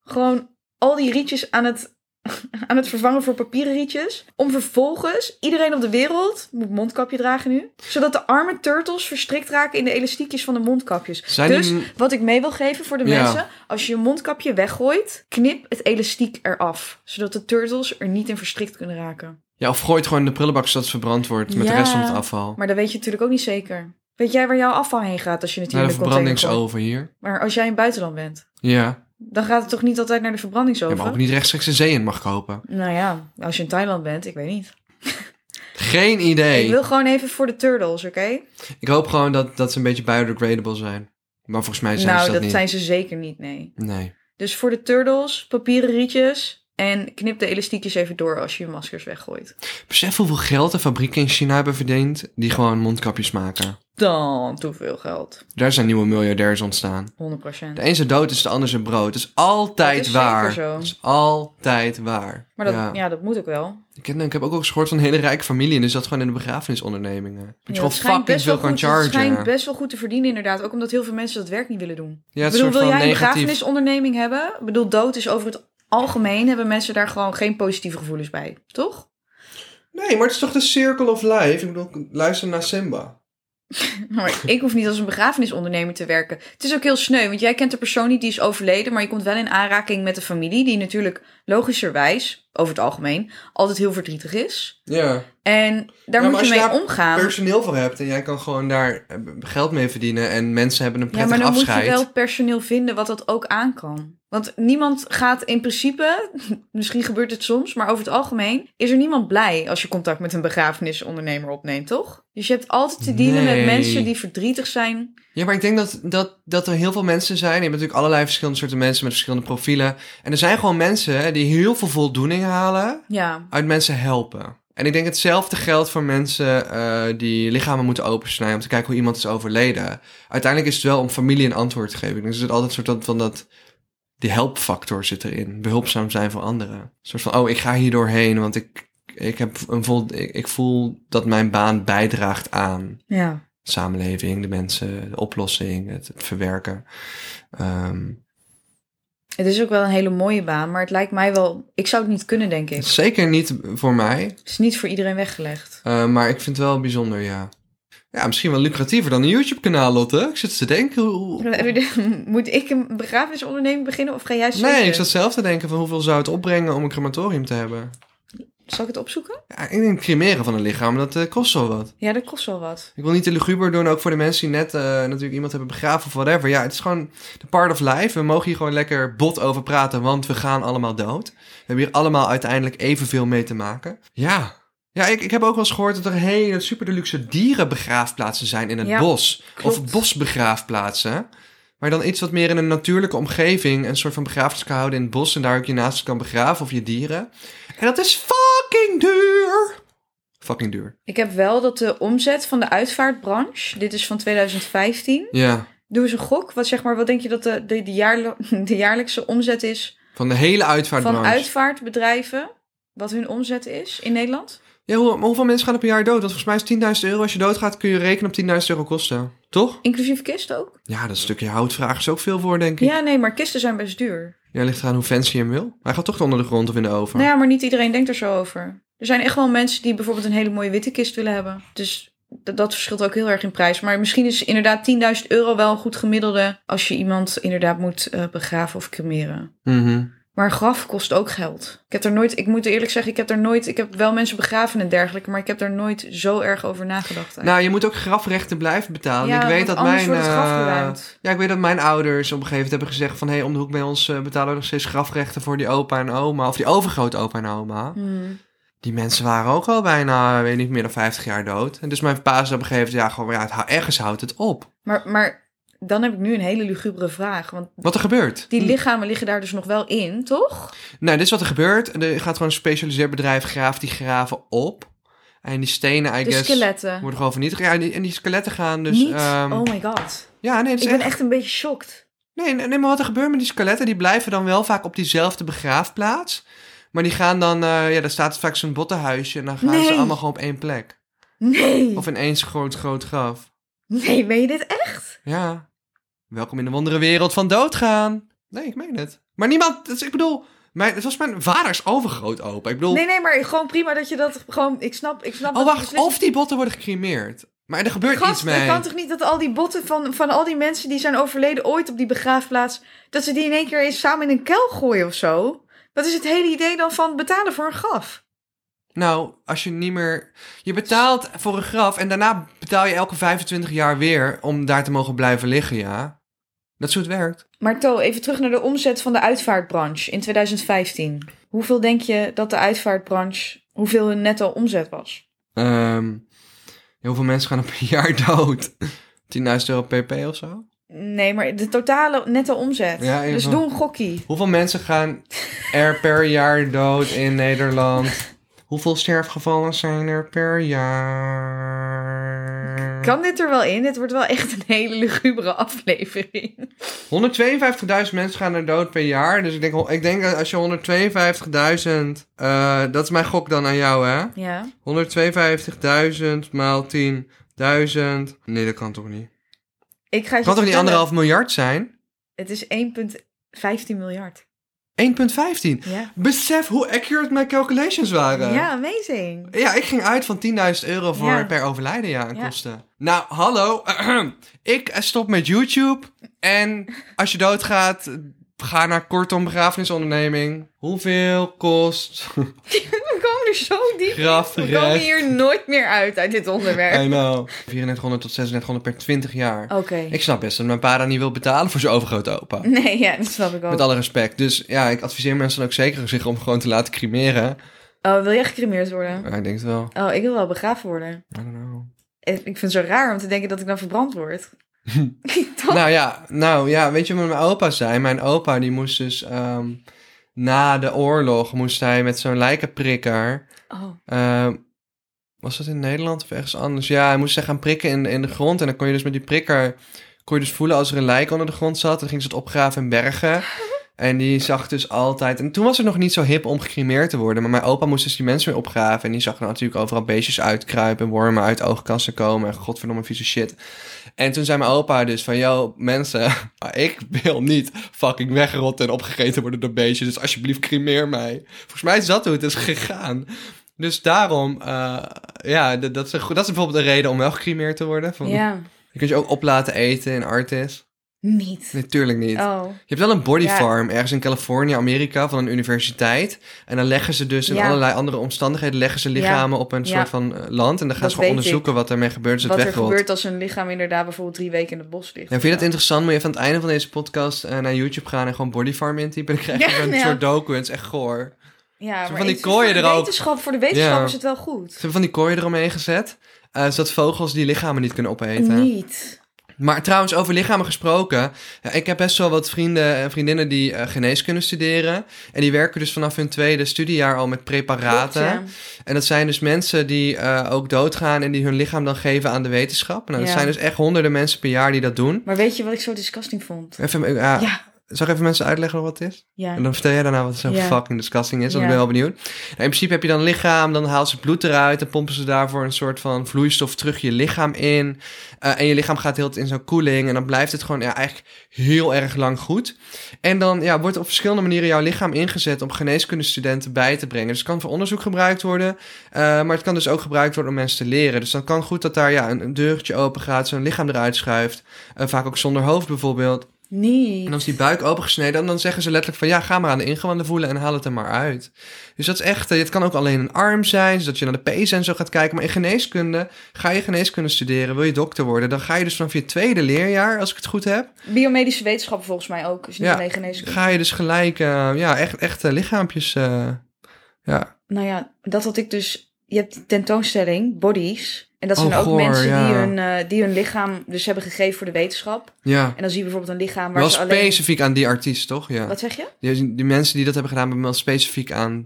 [SPEAKER 2] gewoon al die rietjes aan het, aan het vervangen voor papieren rietjes. Om vervolgens iedereen op de wereld moet mondkapje dragen nu. Zodat de arme turtles verstrikt raken in de elastiekjes van de mondkapjes.
[SPEAKER 1] Zijn
[SPEAKER 2] dus
[SPEAKER 1] die-
[SPEAKER 2] wat ik mee wil geven voor de
[SPEAKER 1] Ja.
[SPEAKER 2] mensen, als je je mondkapje weggooit, knip het elastiek eraf, zodat de turtles er niet in verstrikt kunnen raken.
[SPEAKER 1] Ja, of gooit gewoon in de prullenbak zodat het verbrand wordt met de
[SPEAKER 2] Ja.
[SPEAKER 1] rest van het afval.
[SPEAKER 2] Maar dat weet je natuurlijk ook niet zeker. Weet jij waar jouw afval heen gaat als je het hier
[SPEAKER 1] Naar de
[SPEAKER 2] in de container gooit?
[SPEAKER 1] verbrandingsoven hier.
[SPEAKER 2] Maar als jij in het buitenland bent,
[SPEAKER 1] Ja.
[SPEAKER 2] dan gaat het toch niet altijd naar de
[SPEAKER 1] ja,
[SPEAKER 2] verbrandingsoven?
[SPEAKER 1] maar ook niet rechtstreeks de zee in mag kopen.
[SPEAKER 2] Nou ja, als je in Thailand bent, ik weet niet.
[SPEAKER 1] Geen idee.
[SPEAKER 2] Ik
[SPEAKER 1] Ik,
[SPEAKER 2] wil gewoon even voor de turtles, oké?
[SPEAKER 1] hoop gewoon dat, dat ze een beetje biodegradable zijn. Maar volgens mij zijn
[SPEAKER 2] Nou,
[SPEAKER 1] ze dat,
[SPEAKER 2] dat
[SPEAKER 1] niet.
[SPEAKER 2] zijn ze zeker niet, nee.
[SPEAKER 1] Nee.
[SPEAKER 2] Dus voor de turtles, papieren rietjes en knip de elastiekjes even door als je je maskers weggooit.
[SPEAKER 1] Besef hoeveel geld de fabrieken in China hebben verdiend die gewoon mondkapjes maken.
[SPEAKER 2] Dan te veel geld, 100%.
[SPEAKER 1] Daar zijn nieuwe miljardairs ontstaan. De een zijn dood is de ander zijn brood. Dat is altijd
[SPEAKER 2] Dat is
[SPEAKER 1] waar.
[SPEAKER 2] zeker zo.
[SPEAKER 1] Dat is altijd waar.
[SPEAKER 2] Maar dat,
[SPEAKER 1] ja.
[SPEAKER 2] ja. dat moet ook wel.
[SPEAKER 1] Ik, ken, ik heb ook al eens gehoord van een hele rijke familie en die zat gewoon in de begrafenisondernemingen. Dat je
[SPEAKER 2] Ja,
[SPEAKER 1] gewoon
[SPEAKER 2] het schijnt
[SPEAKER 1] fucking
[SPEAKER 2] best wel
[SPEAKER 1] veel kan
[SPEAKER 2] goed, het schijnt
[SPEAKER 1] chargen.
[SPEAKER 2] best wel goed te verdienen inderdaad. Ook omdat heel veel mensen dat werk niet willen doen.
[SPEAKER 1] Ja, het
[SPEAKER 2] ik
[SPEAKER 1] is een
[SPEAKER 2] bedoel,
[SPEAKER 1] soort
[SPEAKER 2] wil
[SPEAKER 1] van
[SPEAKER 2] jij een
[SPEAKER 1] negatief
[SPEAKER 2] begrafenisonderneming hebben? Ik bedoel, dood is over het algemeen... hebben mensen daar gewoon geen positieve gevoelens bij. Toch?
[SPEAKER 1] Nee, maar het is toch de circle of life? Ik bedoel, luister naar Simba.
[SPEAKER 2] Maar ik hoef niet als een begrafenisondernemer te werken. Het is ook heel sneu, want jij kent de persoon niet die is overleden... maar je komt wel in aanraking met de familie... die natuurlijk logischerwijs, over het algemeen... altijd heel verdrietig is.
[SPEAKER 1] Ja.
[SPEAKER 2] En daar
[SPEAKER 1] maar
[SPEAKER 2] moet
[SPEAKER 1] als
[SPEAKER 2] je
[SPEAKER 1] je
[SPEAKER 2] mee
[SPEAKER 1] daar
[SPEAKER 2] omgaan.
[SPEAKER 1] Personeel voor hebt en jij kan gewoon daar eh, geld mee verdienen en mensen hebben een
[SPEAKER 2] Ja,
[SPEAKER 1] prettig
[SPEAKER 2] maar dan
[SPEAKER 1] afscheid.
[SPEAKER 2] moet je wel personeel vinden wat dat ook aan kan. Want niemand gaat in principe, misschien gebeurt het soms, maar over het algemeen is er niemand blij als je contact met een begrafenisondernemer opneemt, toch? Dus je hebt altijd te dienen
[SPEAKER 1] Nee.
[SPEAKER 2] met mensen die verdrietig zijn.
[SPEAKER 1] Ja, maar ik denk dat, dat, dat er heel veel mensen zijn. Je hebt natuurlijk allerlei verschillende soorten mensen met verschillende profielen. En er zijn gewoon mensen hè, die heel veel voldoening halen
[SPEAKER 2] Ja,
[SPEAKER 1] uit mensen helpen. En ik denk hetzelfde geldt voor mensen eh, die lichamen moeten opensnijden om te kijken hoe iemand is overleden. Uiteindelijk is het wel om familie een antwoord te geven. Dus er zit altijd een soort van- van dat. Die helpfactor zit erin. Behulpzaam zijn voor anderen. Een soort van, oh, ik ga hier doorheen, want ik, ik, heb een vol, ik, ik voel dat mijn baan bijdraagt aan
[SPEAKER 2] ja.
[SPEAKER 1] de samenleving, de mensen, de oplossing, het, het verwerken. Ehm,
[SPEAKER 2] Het is ook wel een hele mooie baan, maar het lijkt mij wel, ik zou het niet kunnen, denk ik.
[SPEAKER 1] het is zeker niet voor mij,
[SPEAKER 2] Het is niet voor iedereen weggelegd.
[SPEAKER 1] eh, maar ik vind het wel bijzonder, ja. Ja, misschien wel lucratiever dan een YouTube-kanaal, Lotte. Ik zit te denken hoe...
[SPEAKER 2] Moet ik een begrafenisonderneming beginnen of ga jij zoeken?
[SPEAKER 1] Nee, ik zat zelf te denken van hoeveel zou het opbrengen om een crematorium te hebben.
[SPEAKER 2] Zal ik het opzoeken?
[SPEAKER 1] Ja, ik denk cremeren van een lichaam, dat eh, kost wel wat.
[SPEAKER 2] Ja, dat kost wel wat.
[SPEAKER 1] Ik wil niet te luguber doen, ook voor de mensen die net eh, natuurlijk iemand hebben begraven of whatever. Ja, het is gewoon de part of life. We mogen hier gewoon lekker bot over praten, want we gaan allemaal dood. We hebben hier allemaal uiteindelijk evenveel mee te maken. Ja. Ja, ik, ik heb ook wel eens gehoord dat er hele super deluxe dierenbegraafplaatsen zijn in het
[SPEAKER 2] Ja,
[SPEAKER 1] bos.
[SPEAKER 2] klopt.
[SPEAKER 1] Of bosbegraafplaatsen. Maar dan iets wat meer in een natuurlijke omgeving een soort van begrafenis kan houden in het bos. En daar ook je naast kan begraven of je dieren. En dat is fucking duur. Fucking duur.
[SPEAKER 2] Ik heb wel dat de omzet van de uitvaartbranche, dit is van 2015.
[SPEAKER 1] Ja.
[SPEAKER 2] Doe eens een gok. Wat, zeg maar, wat denk je dat de, de, de, jaarlo- de jaarlijkse omzet is
[SPEAKER 1] Van de hele uitvaartbranche.
[SPEAKER 2] van uitvaartbedrijven? Wat hun omzet is in Nederland?
[SPEAKER 1] Ja, hoe, maar hoeveel mensen gaan er per jaar dood? Want volgens mij is 10.000 euro. Als je doodgaat kun je rekenen op 10.000 euro kosten. Toch?
[SPEAKER 2] Inclusief kist ook?
[SPEAKER 1] Ja, dat stukje houtvraag is ook veel voor, denk ik. Ja,
[SPEAKER 2] Ja, nee, maar kisten zijn best duur.
[SPEAKER 1] ligt eraan hoe fancy je hem wil. Maar Hij gaat toch onder de grond of in de oven.
[SPEAKER 2] Nou ja, maar niet iedereen denkt er zo over. Er zijn echt wel mensen die bijvoorbeeld een hele mooie witte kist willen hebben. Dus d- dat verschilt ook heel erg in prijs. Maar misschien is inderdaad 10.000 euro wel een goed gemiddelde als je iemand inderdaad moet eh, begraven of cremeren.
[SPEAKER 1] Mhm.
[SPEAKER 2] Maar een graf kost ook geld. Ik heb er nooit, ik moet eerlijk zeggen, ik heb er nooit, ik heb wel mensen begraven en dergelijke, maar ik heb er nooit zo erg over nagedacht. eigenlijk.
[SPEAKER 1] Nou, je moet ook grafrechten blijven betalen. Nou, ik weet
[SPEAKER 2] want
[SPEAKER 1] dat
[SPEAKER 2] anders
[SPEAKER 1] mijn...
[SPEAKER 2] wordt het graf
[SPEAKER 1] eh,
[SPEAKER 2] geruimd.
[SPEAKER 1] ja, ik weet dat mijn ouders op een gegeven moment hebben gezegd van... hé, hey, om de hoek bij ons eh, betalen we nog steeds grafrechten voor die opa en oma. Of die overgrootopa en oma.
[SPEAKER 2] Hmm.
[SPEAKER 1] Die mensen waren ook al bijna, weet niet, meer dan 50 jaar dood. En dus mijn pa is op een gegeven moment... ja, gewoon, ja, het, hou- ergens houdt het op.
[SPEAKER 2] Maar, maar dan heb ik nu een hele lugubere vraag, want
[SPEAKER 1] Wat er gebeurt.
[SPEAKER 2] die lichamen liggen daar dus nog wel in, toch?
[SPEAKER 1] Nou, dit is wat er gebeurt. Er gaat gewoon een specialiseerd bedrijf graaft die graven op. En die stenen, I
[SPEAKER 2] De
[SPEAKER 1] guess,
[SPEAKER 2] skeletten.
[SPEAKER 1] worden gewoon vernietigd. Ja, en die, en die skeletten gaan dus...
[SPEAKER 2] Niet?
[SPEAKER 1] ehm,
[SPEAKER 2] oh my god.
[SPEAKER 1] ja, nee, het is
[SPEAKER 2] Ik ben
[SPEAKER 1] echt-
[SPEAKER 2] echt een beetje shocked.
[SPEAKER 1] Nee, nee, nee, maar wat er gebeurt met die skeletten, die blijven dan wel vaak op diezelfde begraafplaats. Maar die gaan dan, eh, ja, daar staat vaak zo'n bottenhuisje en dan gaan ze
[SPEAKER 2] Nee.
[SPEAKER 1] allemaal gewoon op één plek.
[SPEAKER 2] Nee.
[SPEAKER 1] Of ineens groot, groot graf.
[SPEAKER 2] Nee, meen je dit echt?
[SPEAKER 1] Ja. Welkom in de wondere wereld van doodgaan. Nee, ik meen het. Maar niemand, dus ik bedoel, mijn, het was mijn vaders overgrootopa. Ik bedoel,
[SPEAKER 2] Nee, nee, maar gewoon prima dat je dat gewoon... Ik snap, ik snap...
[SPEAKER 1] Oh,
[SPEAKER 2] dat
[SPEAKER 1] wacht.
[SPEAKER 2] beslissing-
[SPEAKER 1] Of die botten worden gecremeerd. Maar er gebeurt
[SPEAKER 2] Gast,
[SPEAKER 1] iets mee.
[SPEAKER 2] het kan toch niet dat al die botten van, van al die mensen die zijn overleden ooit op die begraafplaats... dat ze die in één keer eens samen in een kuil gooien of zo? Wat is het hele idee dan van betalen voor een graf?
[SPEAKER 1] Nou, als je niet meer... Je betaalt voor een graf en daarna betaal je elke 25 jaar weer om daar te mogen blijven liggen, ja. Dat is hoe het werkt.
[SPEAKER 2] Maar To, even terug naar de omzet van de uitvaartbranche in 2015. Hoeveel denk je dat de uitvaartbranche... hoeveel hun netto omzet was?
[SPEAKER 1] Ehm, ja, hoeveel mensen gaan er per jaar dood? 10.000 euro pp of zo?
[SPEAKER 2] Nee, maar de totale netto omzet.
[SPEAKER 1] Ja,
[SPEAKER 2] dus
[SPEAKER 1] even-
[SPEAKER 2] doe een gokkie.
[SPEAKER 1] Hoeveel mensen gaan er per jaar dood in Nederland? Hoeveel sterfgevallen zijn er per jaar?
[SPEAKER 2] Kan dit er wel in? Het wordt wel echt een hele lugubere
[SPEAKER 1] 152.000
[SPEAKER 2] aflevering.
[SPEAKER 1] mensen gaan er dood per jaar. Dus ik denk, ik denk dat als je 152.000... eh, dat is mijn gok dan aan jou, hè?
[SPEAKER 2] Ja.
[SPEAKER 1] 152.000 maal 10.000... Nee, dat kan toch niet?
[SPEAKER 2] Ik ga
[SPEAKER 1] Kan
[SPEAKER 2] je
[SPEAKER 1] toch niet
[SPEAKER 2] vertellen,
[SPEAKER 1] anderhalf miljard zijn?
[SPEAKER 2] Het is 1,15
[SPEAKER 1] 1,15.
[SPEAKER 2] miljard. Ja.
[SPEAKER 1] Besef hoe accurate mijn calculations waren.
[SPEAKER 2] Ja, amazing.
[SPEAKER 1] Ja, ik ging uit van 10.000 euro voor
[SPEAKER 2] Ja.
[SPEAKER 1] per overlijden ja, aan
[SPEAKER 2] Ja.
[SPEAKER 1] kosten. Nou, hallo. ik eh, stop met YouTube. En als je doodgaat, ga naar Kortom Begrafenisonderneming. Hoeveel kost...
[SPEAKER 2] We komen er zo diep. in. We komen
[SPEAKER 1] Grafrecht.
[SPEAKER 2] hier nooit meer uit uit dit onderwerp.
[SPEAKER 1] I know. 3400 tot 3600 per 20 jaar.
[SPEAKER 2] Oké.
[SPEAKER 1] Ik snap best dat mijn pa daar niet wil betalen voor zijn overgrote opa.
[SPEAKER 2] Nee, ja, dat snap ik ook.
[SPEAKER 1] Met alle respect. Dus ja, ik adviseer mensen dan ook zeker zich om gewoon te laten cremeren.
[SPEAKER 2] Oh, wil jij gecremeerd worden?
[SPEAKER 1] Maar ik denk het wel.
[SPEAKER 2] Oh, ik wil wel begraven worden.
[SPEAKER 1] I don't know.
[SPEAKER 2] En Ik vind het zo raar om te denken dat ik dan verbrand word. Toch?
[SPEAKER 1] Nou ja, nou ja, weet je wat mijn opa zei? Mijn opa die moest dus ehm, na de oorlog moest hij met zo'n lijkenprikker.
[SPEAKER 2] Oh,
[SPEAKER 1] ehm, was dat in Nederland of ergens anders? Ja, hij moest zich gaan prikken in, in de grond. En dan kon je dus met die prikker kon je dus voelen als er een lijk onder de grond zat. En dan ging ze het opgraven en bergen. En die zag dus altijd. En toen was het nog niet zo hip om gecremeerd te worden. Maar mijn opa moest dus die mensen weer opgraven. En die zag dan natuurlijk overal beestjes uitkruipen. Wormen uit oogkassen komen. En godverdomme vieze shit. En toen zei mijn opa dus van: Yo, mensen, ik wil niet fucking wegrotten en opgegeten worden door beestjes. Dus alsjeblieft, cremeer mij. Volgens mij is dat hoe het is gegaan. Dus daarom, eh, ja, d- dat is, een, goed- dat is bijvoorbeeld een reden om wel gecremeerd te worden. Van,
[SPEAKER 2] Ja.
[SPEAKER 1] Je kunt je ook op laten eten in Artis.
[SPEAKER 2] Niet.
[SPEAKER 1] Natuurlijk niet.
[SPEAKER 2] Oh.
[SPEAKER 1] Je hebt wel een body
[SPEAKER 2] Ja.
[SPEAKER 1] farm ergens in Californië, Amerika, van een universiteit. En dan leggen ze dus in
[SPEAKER 2] Ja.
[SPEAKER 1] allerlei andere omstandigheden leggen ze lichamen op een
[SPEAKER 2] Ja.
[SPEAKER 1] soort van eh, land. En dan gaan
[SPEAKER 2] Dat
[SPEAKER 1] ze gewoon
[SPEAKER 2] weet
[SPEAKER 1] onderzoeken wat daarmee gebeurt als het
[SPEAKER 2] Wat er
[SPEAKER 1] wegrolt.
[SPEAKER 2] gebeurt als een lichaam inderdaad bijvoorbeeld drie weken in het bos ligt.
[SPEAKER 1] Ja, vind je dat interessant? Moet je even aan het einde van deze podcast eh, naar YouTube gaan en gewoon body farm intypen. Dan krijg je
[SPEAKER 2] Ja,
[SPEAKER 1] een
[SPEAKER 2] ja.
[SPEAKER 1] soort docu. Het is echt goor.
[SPEAKER 2] Ja, maar
[SPEAKER 1] van die
[SPEAKER 2] ik-
[SPEAKER 1] kooien
[SPEAKER 2] voor de
[SPEAKER 1] er ook.
[SPEAKER 2] Wetenschap, voor de wetenschap
[SPEAKER 1] Ja.
[SPEAKER 2] is het wel
[SPEAKER 1] Ze
[SPEAKER 2] goed.
[SPEAKER 1] hebben van die kooien eromheen gezet. eh, zodat vogels die lichamen niet kunnen opeten.
[SPEAKER 2] Niet.
[SPEAKER 1] Maar trouwens, over lichamen gesproken. ja, ik heb best wel wat vrienden en vriendinnen die eh, geneeskunde studeren. En die werken dus vanaf hun tweede studiejaar al met preparaten.
[SPEAKER 2] Klopt,
[SPEAKER 1] En dat zijn dus mensen die eh, ook doodgaan en die hun lichaam dan geven aan de wetenschap. Nou, dat
[SPEAKER 2] Ja.
[SPEAKER 1] zijn dus echt honderden mensen per jaar die dat doen.
[SPEAKER 2] Maar weet je wat ik zo disgusting vond?
[SPEAKER 1] Even, eh, ja,
[SPEAKER 2] Ja,
[SPEAKER 1] Zal ik even mensen uitleggen wat het is?
[SPEAKER 2] ja.
[SPEAKER 1] En dan vertel jij daarna wat zo
[SPEAKER 2] Ja.
[SPEAKER 1] fucking disgusting is. Want ik ben
[SPEAKER 2] Ja.
[SPEAKER 1] wel benieuwd. Nou, in principe heb je dan een lichaam, dan haalt ze bloed eruit. Dan pompen ze daarvoor een soort van vloeistof terug je lichaam in. Eh, en je lichaam gaat heel in zo'n koeling. En dan blijft het gewoon ja, eigenlijk heel erg lang goed. En dan ja, wordt op verschillende manieren jouw lichaam ingezet om geneeskundestudenten bij te brengen. Dus het kan voor onderzoek gebruikt worden. eh, maar het kan dus ook gebruikt worden om mensen te leren. Dus dan kan goed dat daar ja, een, een deurtje open gaat, zo'n lichaam eruit schuift. Eh, vaak ook zonder hoofd bijvoorbeeld.
[SPEAKER 2] Niet.
[SPEAKER 1] En als die buik opengesneden, dan- dan zeggen ze letterlijk van ja, ga maar aan de ingewanden voelen en haal het er maar uit. Dus dat is echt, eh, het kan ook alleen een arm zijn, zodat je naar de pees en zo gaat kijken. Maar in geneeskunde, ga je geneeskunde studeren, wil je dokter worden, dan ga je dus vanaf je tweede leerjaar, als ik het goed heb,
[SPEAKER 2] Biomedische wetenschap volgens mij ook. Is niet
[SPEAKER 1] Ja.
[SPEAKER 2] alleen geneeskunde.
[SPEAKER 1] ga je dus gelijk, eh, ja, echt, echt eh, lichaampjes, eh, ja.
[SPEAKER 2] Nou ja, dat had ik dus. Je hebt die tentoonstelling, bodies. En dat
[SPEAKER 1] Oh,
[SPEAKER 2] zijn ook
[SPEAKER 1] goor,
[SPEAKER 2] mensen die,
[SPEAKER 1] ja.
[SPEAKER 2] hun, eh, die hun lichaam dus hebben gegeven voor de wetenschap.
[SPEAKER 1] Ja,
[SPEAKER 2] En dan zie je bijvoorbeeld een lichaam waar
[SPEAKER 1] wel
[SPEAKER 2] ze alleen...
[SPEAKER 1] specifiek aan die artiest, toch? Ja.
[SPEAKER 2] Wat zeg je?
[SPEAKER 1] Die, die mensen die dat hebben gedaan, hebben wel specifiek aan,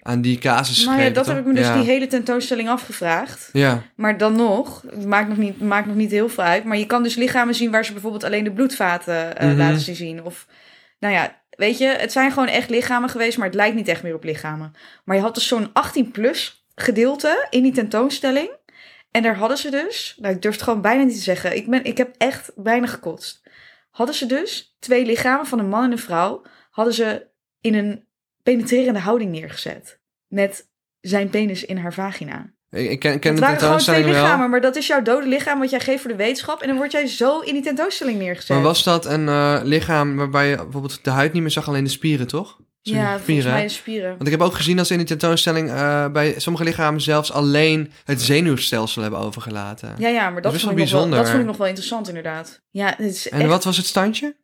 [SPEAKER 1] aan die casus
[SPEAKER 2] Nou ja,
[SPEAKER 1] gegeven,
[SPEAKER 2] dat heb
[SPEAKER 1] toch?
[SPEAKER 2] ik me dus
[SPEAKER 1] ja.
[SPEAKER 2] die hele tentoonstelling afgevraagd.
[SPEAKER 1] Ja,
[SPEAKER 2] Maar dan nog, het maakt nog, niet, maakt nog niet heel veel uit. Maar je kan dus lichamen zien waar ze bijvoorbeeld alleen de bloedvaten eh,
[SPEAKER 1] Mhm.
[SPEAKER 2] laten zien. Of, nou ja, weet je, het zijn gewoon echt lichamen geweest, maar het lijkt niet echt meer op lichamen. Maar je had dus zo'n 18-plus gedeelte in die tentoonstelling. En daar hadden ze dus, nou ik durf het gewoon bijna niet te zeggen, ik, ben, ik heb echt bijna gekotst. Hadden ze dus twee lichamen van een man en een vrouw, hadden ze in een penetrerende houding neergezet. Met zijn penis in haar vagina.
[SPEAKER 1] ik, ik ken, ik ken
[SPEAKER 2] Het
[SPEAKER 1] de
[SPEAKER 2] waren gewoon twee
[SPEAKER 1] tentoonstelling wel.
[SPEAKER 2] lichamen, maar dat is jouw dode lichaam wat jij geeft voor de wetenschap. En dan word jij zo in die tentoonstelling neergezet.
[SPEAKER 1] Maar was dat een eh, lichaam waarbij je bijvoorbeeld de huid niet meer zag, alleen de spieren, toch? Zo'n
[SPEAKER 2] ja, volgens
[SPEAKER 1] spieren.
[SPEAKER 2] mij de spieren.
[SPEAKER 1] Want ik heb ook gezien dat ze in de tentoonstelling eh, bij sommige lichamen zelfs alleen het zenuwstelsel hebben overgelaten.
[SPEAKER 2] Ja, ja, maar dat,
[SPEAKER 1] Dat is
[SPEAKER 2] vond
[SPEAKER 1] wel
[SPEAKER 2] ik nog wel,
[SPEAKER 1] bijzonder.
[SPEAKER 2] dat vond ik nog wel interessant inderdaad. Ja, het is
[SPEAKER 1] en
[SPEAKER 2] echt
[SPEAKER 1] wat was het standje?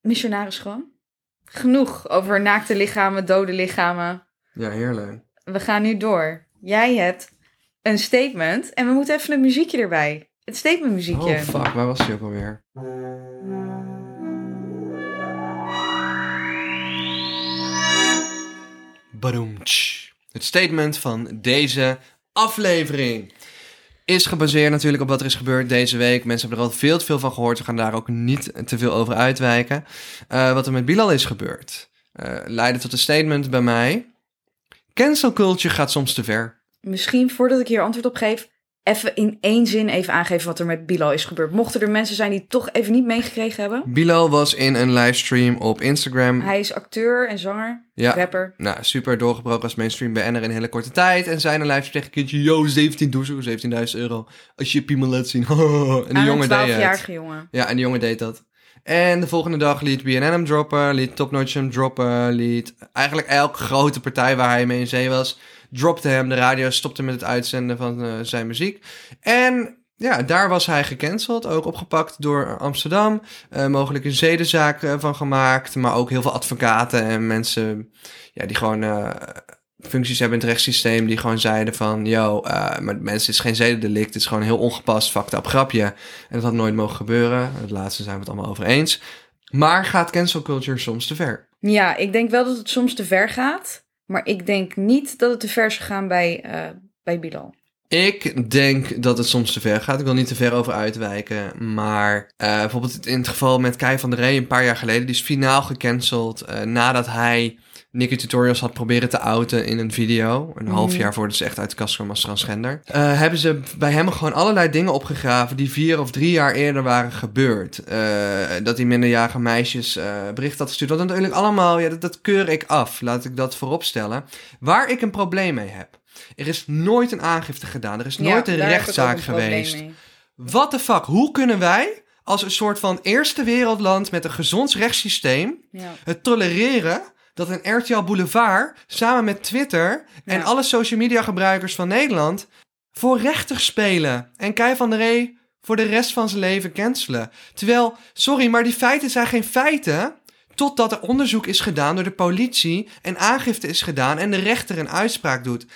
[SPEAKER 2] missionaris gewoon. Genoeg over naakte lichamen, dode lichamen.
[SPEAKER 1] Ja, heerlijk.
[SPEAKER 2] We gaan nu door. Jij hebt een statement en we moeten even een muziekje erbij. Het statement muziekje.
[SPEAKER 1] Oh fuck, waar was die ook alweer? Badoemtsch. Het statement van deze aflevering is gebaseerd natuurlijk op wat er is gebeurd deze week. Mensen hebben er al veel te veel van gehoord. We gaan daar ook niet te veel over uitwijken. Eh, wat er met Bilal is gebeurd, eh, leidde tot een statement bij mij. Cancel culture gaat soms te ver.
[SPEAKER 2] Misschien voordat ik hier antwoord op geef, even in één zin even aangeven wat er met Bilal is gebeurd. Mochten er mensen zijn die het toch even niet meegekregen hebben.
[SPEAKER 1] Bilal was in een livestream op Instagram.
[SPEAKER 2] Hij is acteur en zanger,
[SPEAKER 1] Mm. ja,
[SPEAKER 2] rapper.
[SPEAKER 1] Nou, super doorgebroken als mainstream BN'er in hele korte tijd. En zijn een live tegen een kindje, yo, 17 doezoe, 17.000 euro. Als je je piemel laat zien. en die
[SPEAKER 2] Aan
[SPEAKER 1] jongen deed het.
[SPEAKER 2] een 12-jarige jongen.
[SPEAKER 1] Ja, en die jongen deed dat. En de volgende dag liet BNN hem droppen, liet Topnotch hem droppen, liet eigenlijk elke grote partij waar hij mee in zee was, dropte hem. De radio stopte met het uitzenden van eh, zijn muziek. En ja, daar was hij gecanceld, ook opgepakt door Amsterdam. Eh, mogelijk een zedenzaak eh, van gemaakt, maar ook heel veel advocaten en mensen ja, die gewoon eh, functies hebben in het rechtssysteem, die gewoon zeiden van, yo, eh, maar mensen, het is geen zedendelict, het is gewoon heel ongepast, fucked up grapje. En dat had nooit mogen gebeuren. Het laatste zijn we het allemaal over eens. Maar gaat cancel culture soms te ver?
[SPEAKER 2] Ja, ik denk wel dat het soms te ver gaat. Maar ik denk niet dat het te ver is gegaan bij, eh, bij Bilal.
[SPEAKER 1] Ik denk dat het soms te ver gaat. Ik wil niet te ver over uitwijken. Maar eh, bijvoorbeeld in het geval met Kai van der Rey een paar jaar geleden. Die is finaal gecanceld eh, nadat hij Nicky Tutorials had proberen te outen in een video. Een half jaar voordat ze echt uit de kast kwam als transgender. eh, hebben ze bij hem gewoon allerlei dingen opgegraven die vier of drie jaar eerder waren gebeurd. Eh, dat die minderjarige meisjes eh bericht had gestuurd. Dat natuurlijk allemaal, ja, dat, dat keur ik af. Laat ik dat vooropstellen. Waar ik een probleem mee heb. Er is nooit een aangifte gedaan. Er is nooit een rechtszaak geweest. What the fuck? Hoe kunnen wij als een soort van eerste wereldland met een gezond rechtssysteem
[SPEAKER 2] Ja.
[SPEAKER 1] het tolereren dat een RTL Boulevard samen met Twitter en
[SPEAKER 2] Ja.
[SPEAKER 1] alle social media gebruikers van Nederland voor rechter spelen en Kai van der Ree voor de rest van zijn leven cancelen. Terwijl, sorry, maar die feiten zijn geen feiten totdat er onderzoek is gedaan door de politie en aangifte is gedaan en de rechter een uitspraak doet.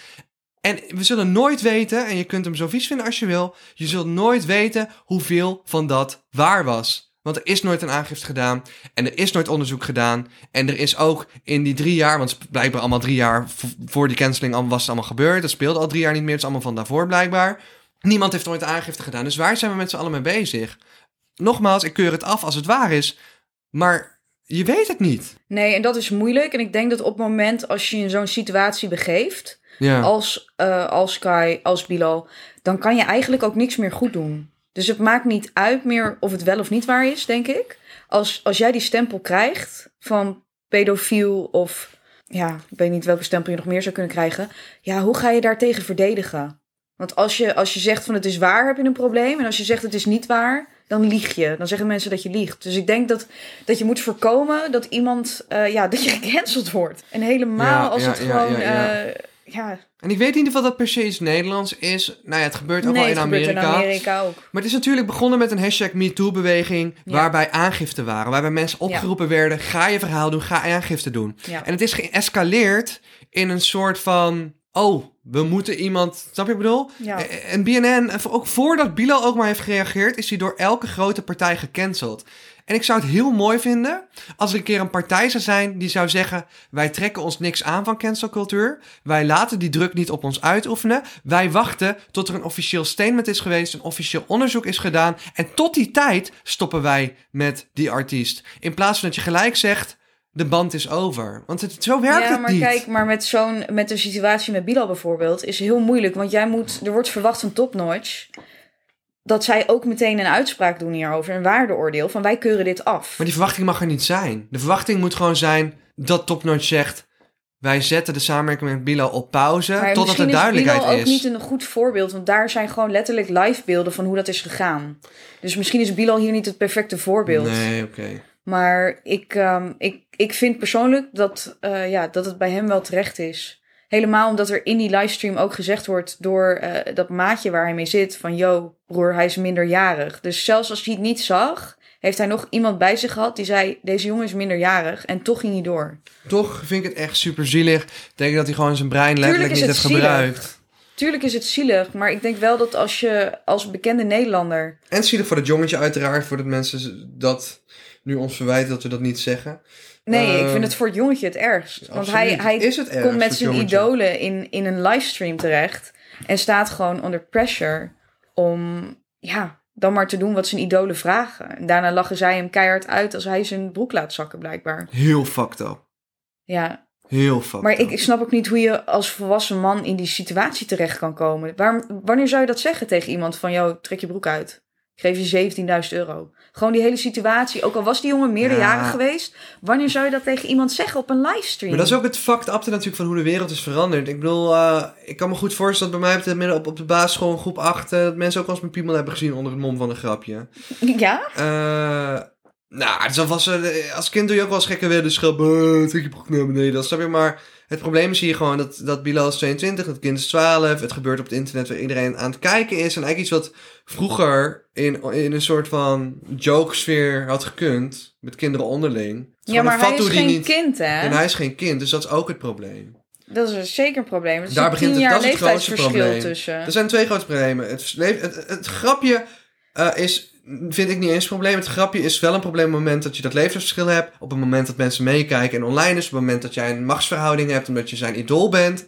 [SPEAKER 1] En we zullen nooit weten, en je kunt hem zo vies vinden als je wil, je zult nooit weten hoeveel van dat waar was. Want er is nooit een aangifte gedaan en er is nooit onderzoek gedaan. En er is ook in die drie jaar, want het is blijkbaar allemaal drie jaar v- voor die canceling al- was het allemaal gebeurd. Dat speelde al drie jaar niet meer, het is allemaal van daarvoor blijkbaar. Niemand heeft ooit aangifte gedaan, dus waar zijn we met z'n allen mee bezig? Nogmaals, ik keur het af als het waar is, maar je weet het niet.
[SPEAKER 2] Nee, en dat is moeilijk. En ik denk dat op het moment als je je in zo'n situatie begeeft,
[SPEAKER 1] Ja.
[SPEAKER 2] als, eh, als Kai, als Bilal, dan kan je eigenlijk ook niks meer goed doen. Dus het maakt niet uit meer of het wel of niet waar is, denk ik. Als, als jij die stempel krijgt van pedofiel of... Ja, ik weet niet welke stempel je nog meer zou kunnen krijgen. Ja, hoe ga je daartegen verdedigen? Want als je, als je zegt van het is waar, heb je een probleem. En als je zegt het is niet waar, dan lieg je. Dan zeggen mensen dat je liegt. Dus ik denk dat, dat je moet voorkomen dat iemand... eh, ja, dat je gecanceld wordt. En helemaal
[SPEAKER 1] Ja,
[SPEAKER 2] als
[SPEAKER 1] ja,
[SPEAKER 2] het
[SPEAKER 1] ja,
[SPEAKER 2] gewoon...
[SPEAKER 1] ja, ja.
[SPEAKER 2] eh, ja,
[SPEAKER 1] En ik weet in ieder geval dat per se iets Nederlands is. Nou ja, het gebeurt ook wel
[SPEAKER 2] het
[SPEAKER 1] in
[SPEAKER 2] gebeurt
[SPEAKER 1] Amerika.
[SPEAKER 2] Amerika ook.
[SPEAKER 1] Maar het is natuurlijk begonnen met een hashtag MeToo-beweging...
[SPEAKER 2] Ja.
[SPEAKER 1] waarbij aangifte waren, waarbij mensen opgeroepen werden... ga je verhaal doen, ga aangifte doen.
[SPEAKER 2] Ja.
[SPEAKER 1] En het is geëscaleerd in een soort van... oh, we moeten iemand... snap je wat ik bedoel?
[SPEAKER 2] Ja.
[SPEAKER 1] Eh, En BNN, eh, ook voordat Bilal ook maar heeft gereageerd... is hij door elke grote partij gecanceld. En ik zou het heel mooi vinden als er een keer een partij zou zijn die zou zeggen: Wij trekken ons niks aan van cancelcultuur. Wij laten die druk niet op ons uitoefenen. Wij wachten tot er een officieel statement is geweest, een officieel onderzoek is gedaan. En tot die tijd stoppen wij met die artiest. In plaats van dat je gelijk zegt: De band is over. Want het, zo werkt
[SPEAKER 2] Ja,
[SPEAKER 1] het
[SPEAKER 2] maar
[SPEAKER 1] niet.
[SPEAKER 2] kijk, maar met zo'n met de situatie met Bilal bijvoorbeeld is heel moeilijk, want jij moet er wordt verwacht van topnotch dat zij ook meteen een uitspraak doen hierover, een waardeoordeel van wij keuren dit af.
[SPEAKER 1] Maar die verwachting mag er niet zijn. De verwachting moet gewoon zijn dat Topnotch zegt: Wij zetten de samenwerking met Bilal op pauze.
[SPEAKER 2] Maar
[SPEAKER 1] totdat er
[SPEAKER 2] misschien
[SPEAKER 1] duidelijkheid
[SPEAKER 2] Bilal ook
[SPEAKER 1] is.
[SPEAKER 2] niet een goed voorbeeld, want daar zijn gewoon letterlijk live beelden van hoe dat is gegaan. Dus misschien is Bilal hier niet het perfecte voorbeeld.
[SPEAKER 1] Nee, oké.
[SPEAKER 2] Maar ik, ehm, ik, ik vind persoonlijk dat, eh, ja, dat het bij hem wel terecht is. Helemaal omdat er in die livestream ook gezegd wordt door eh, dat maatje waar hij mee zit: van yo, broer, hij is minderjarig. Dus zelfs als hij het niet zag, heeft hij nog iemand bij zich gehad die zei: deze jongen is minderjarig. En toch ging hij door.
[SPEAKER 1] Toch vind ik het echt super zielig. Ik denk dat hij gewoon zijn brein letterlijk
[SPEAKER 2] is
[SPEAKER 1] niet
[SPEAKER 2] het
[SPEAKER 1] heeft gebruikt.
[SPEAKER 2] Tuurlijk is het zielig, maar ik denk wel dat als je als bekende Nederlander.
[SPEAKER 1] En zielig voor dat jongetje uiteraard. Voordat mensen dat nu ons verwijten dat we dat niet zeggen.
[SPEAKER 2] Nee, ik
[SPEAKER 1] Ehm,
[SPEAKER 2] vind het voor het jongetje het ergst. Want
[SPEAKER 1] absoluut.
[SPEAKER 2] hij, hij
[SPEAKER 1] Is het erg
[SPEAKER 2] komt
[SPEAKER 1] voor
[SPEAKER 2] met
[SPEAKER 1] het
[SPEAKER 2] zijn
[SPEAKER 1] jongetje?
[SPEAKER 2] idolen in, in een livestream terecht. En staat gewoon onder pressure om ja, dan maar te doen wat zijn idolen vragen. En daarna lachen zij hem keihard uit als hij zijn broek laat zakken, blijkbaar.
[SPEAKER 1] Heel fucked up.
[SPEAKER 2] Ja,
[SPEAKER 1] Heel fucked
[SPEAKER 2] maar ik,
[SPEAKER 1] up.
[SPEAKER 2] ik snap ook niet hoe je als volwassen man in die situatie terecht kan komen. Waar, wanneer zou je dat zeggen tegen iemand van, joh, trek je broek uit. Ik geef je 17.000 euro. Gewoon die hele situatie. Ook al was die jongen meerderjarig
[SPEAKER 1] Ja.
[SPEAKER 2] geweest. Wanneer zou je dat tegen iemand zeggen op een livestream?
[SPEAKER 1] Maar dat is ook het fucked up natuurlijk van hoe de wereld is veranderd. Ik bedoel, eh, ik kan me goed voorstellen dat bij mij op de, midden- op, op de basisschool in groep 8... eh, dat mensen ook wel eens mijn piemel hebben gezien onder het mom van een grapje.
[SPEAKER 2] Ja?
[SPEAKER 1] Eh, nou, het is alvast, eh, als kind doe je ook wel eens gekke dus willen schrappen. Trek je broek naar beneden, dat snap je. Maar het probleem is hier gewoon dat, dat Bilal is 22, het kind is 12. Het gebeurt op het internet waar iedereen aan het kijken is. En eigenlijk iets wat vroeger in, in een soort van jokesfeer had gekund. Met kinderen onderling. Het is
[SPEAKER 2] Ja,
[SPEAKER 1] gewoon
[SPEAKER 2] maar
[SPEAKER 1] een
[SPEAKER 2] hij
[SPEAKER 1] fatsoe
[SPEAKER 2] is
[SPEAKER 1] die
[SPEAKER 2] geen
[SPEAKER 1] niet-
[SPEAKER 2] kind, hè?
[SPEAKER 1] En hij is geen kind, dus dat is ook het probleem.
[SPEAKER 2] Dat is zeker een probleem. Er is
[SPEAKER 1] Daar
[SPEAKER 2] een
[SPEAKER 1] begint
[SPEAKER 2] tien
[SPEAKER 1] het-
[SPEAKER 2] jaar
[SPEAKER 1] dat is het grootste
[SPEAKER 2] leeftijdsverschil
[SPEAKER 1] probleem.
[SPEAKER 2] tussen.
[SPEAKER 1] Er zijn twee grote problemen. Het, le- het, het grapje eh, is, vind ik niet eens een probleem. Het grapje is wel een probleem op het moment dat je dat leeftijdsverschil hebt. Op het moment dat mensen meekijken en online is. Op het moment dat jij een machtsverhouding hebt omdat je zijn idool bent.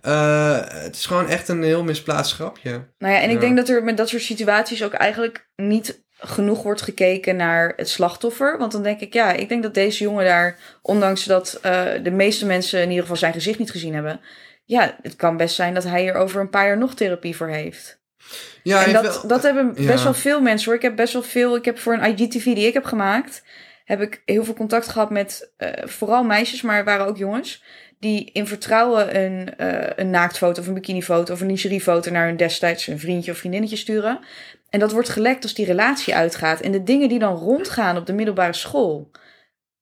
[SPEAKER 1] Eh, het is gewoon echt een heel misplaatst grapje.
[SPEAKER 2] Nou ja, en ik
[SPEAKER 1] Ja.
[SPEAKER 2] denk dat er met dat soort situaties ook eigenlijk niet genoeg wordt gekeken naar het slachtoffer. Want dan denk ik, ja, ik denk dat deze jongen daar, ondanks dat eh, de meeste mensen in ieder geval zijn gezicht niet gezien hebben, ja, het kan best zijn dat hij er over een paar jaar nog therapie voor heeft
[SPEAKER 1] Ja,
[SPEAKER 2] en
[SPEAKER 1] heeft
[SPEAKER 2] dat,
[SPEAKER 1] wel-
[SPEAKER 2] dat hebben
[SPEAKER 1] ja.
[SPEAKER 2] best wel veel mensen hoor. Ik heb best wel veel. Ik heb voor een IGTV die ik heb gemaakt, heb ik heel veel contact gehad met eh, vooral meisjes, maar er waren ook jongens. Die in vertrouwen een, eh, een naaktfoto of een bikinifoto of een lingeriefoto naar hun destijds een vriendje of vriendinnetje sturen. En dat wordt gelekt als die relatie uitgaat. En de dingen die dan rondgaan op de middelbare school.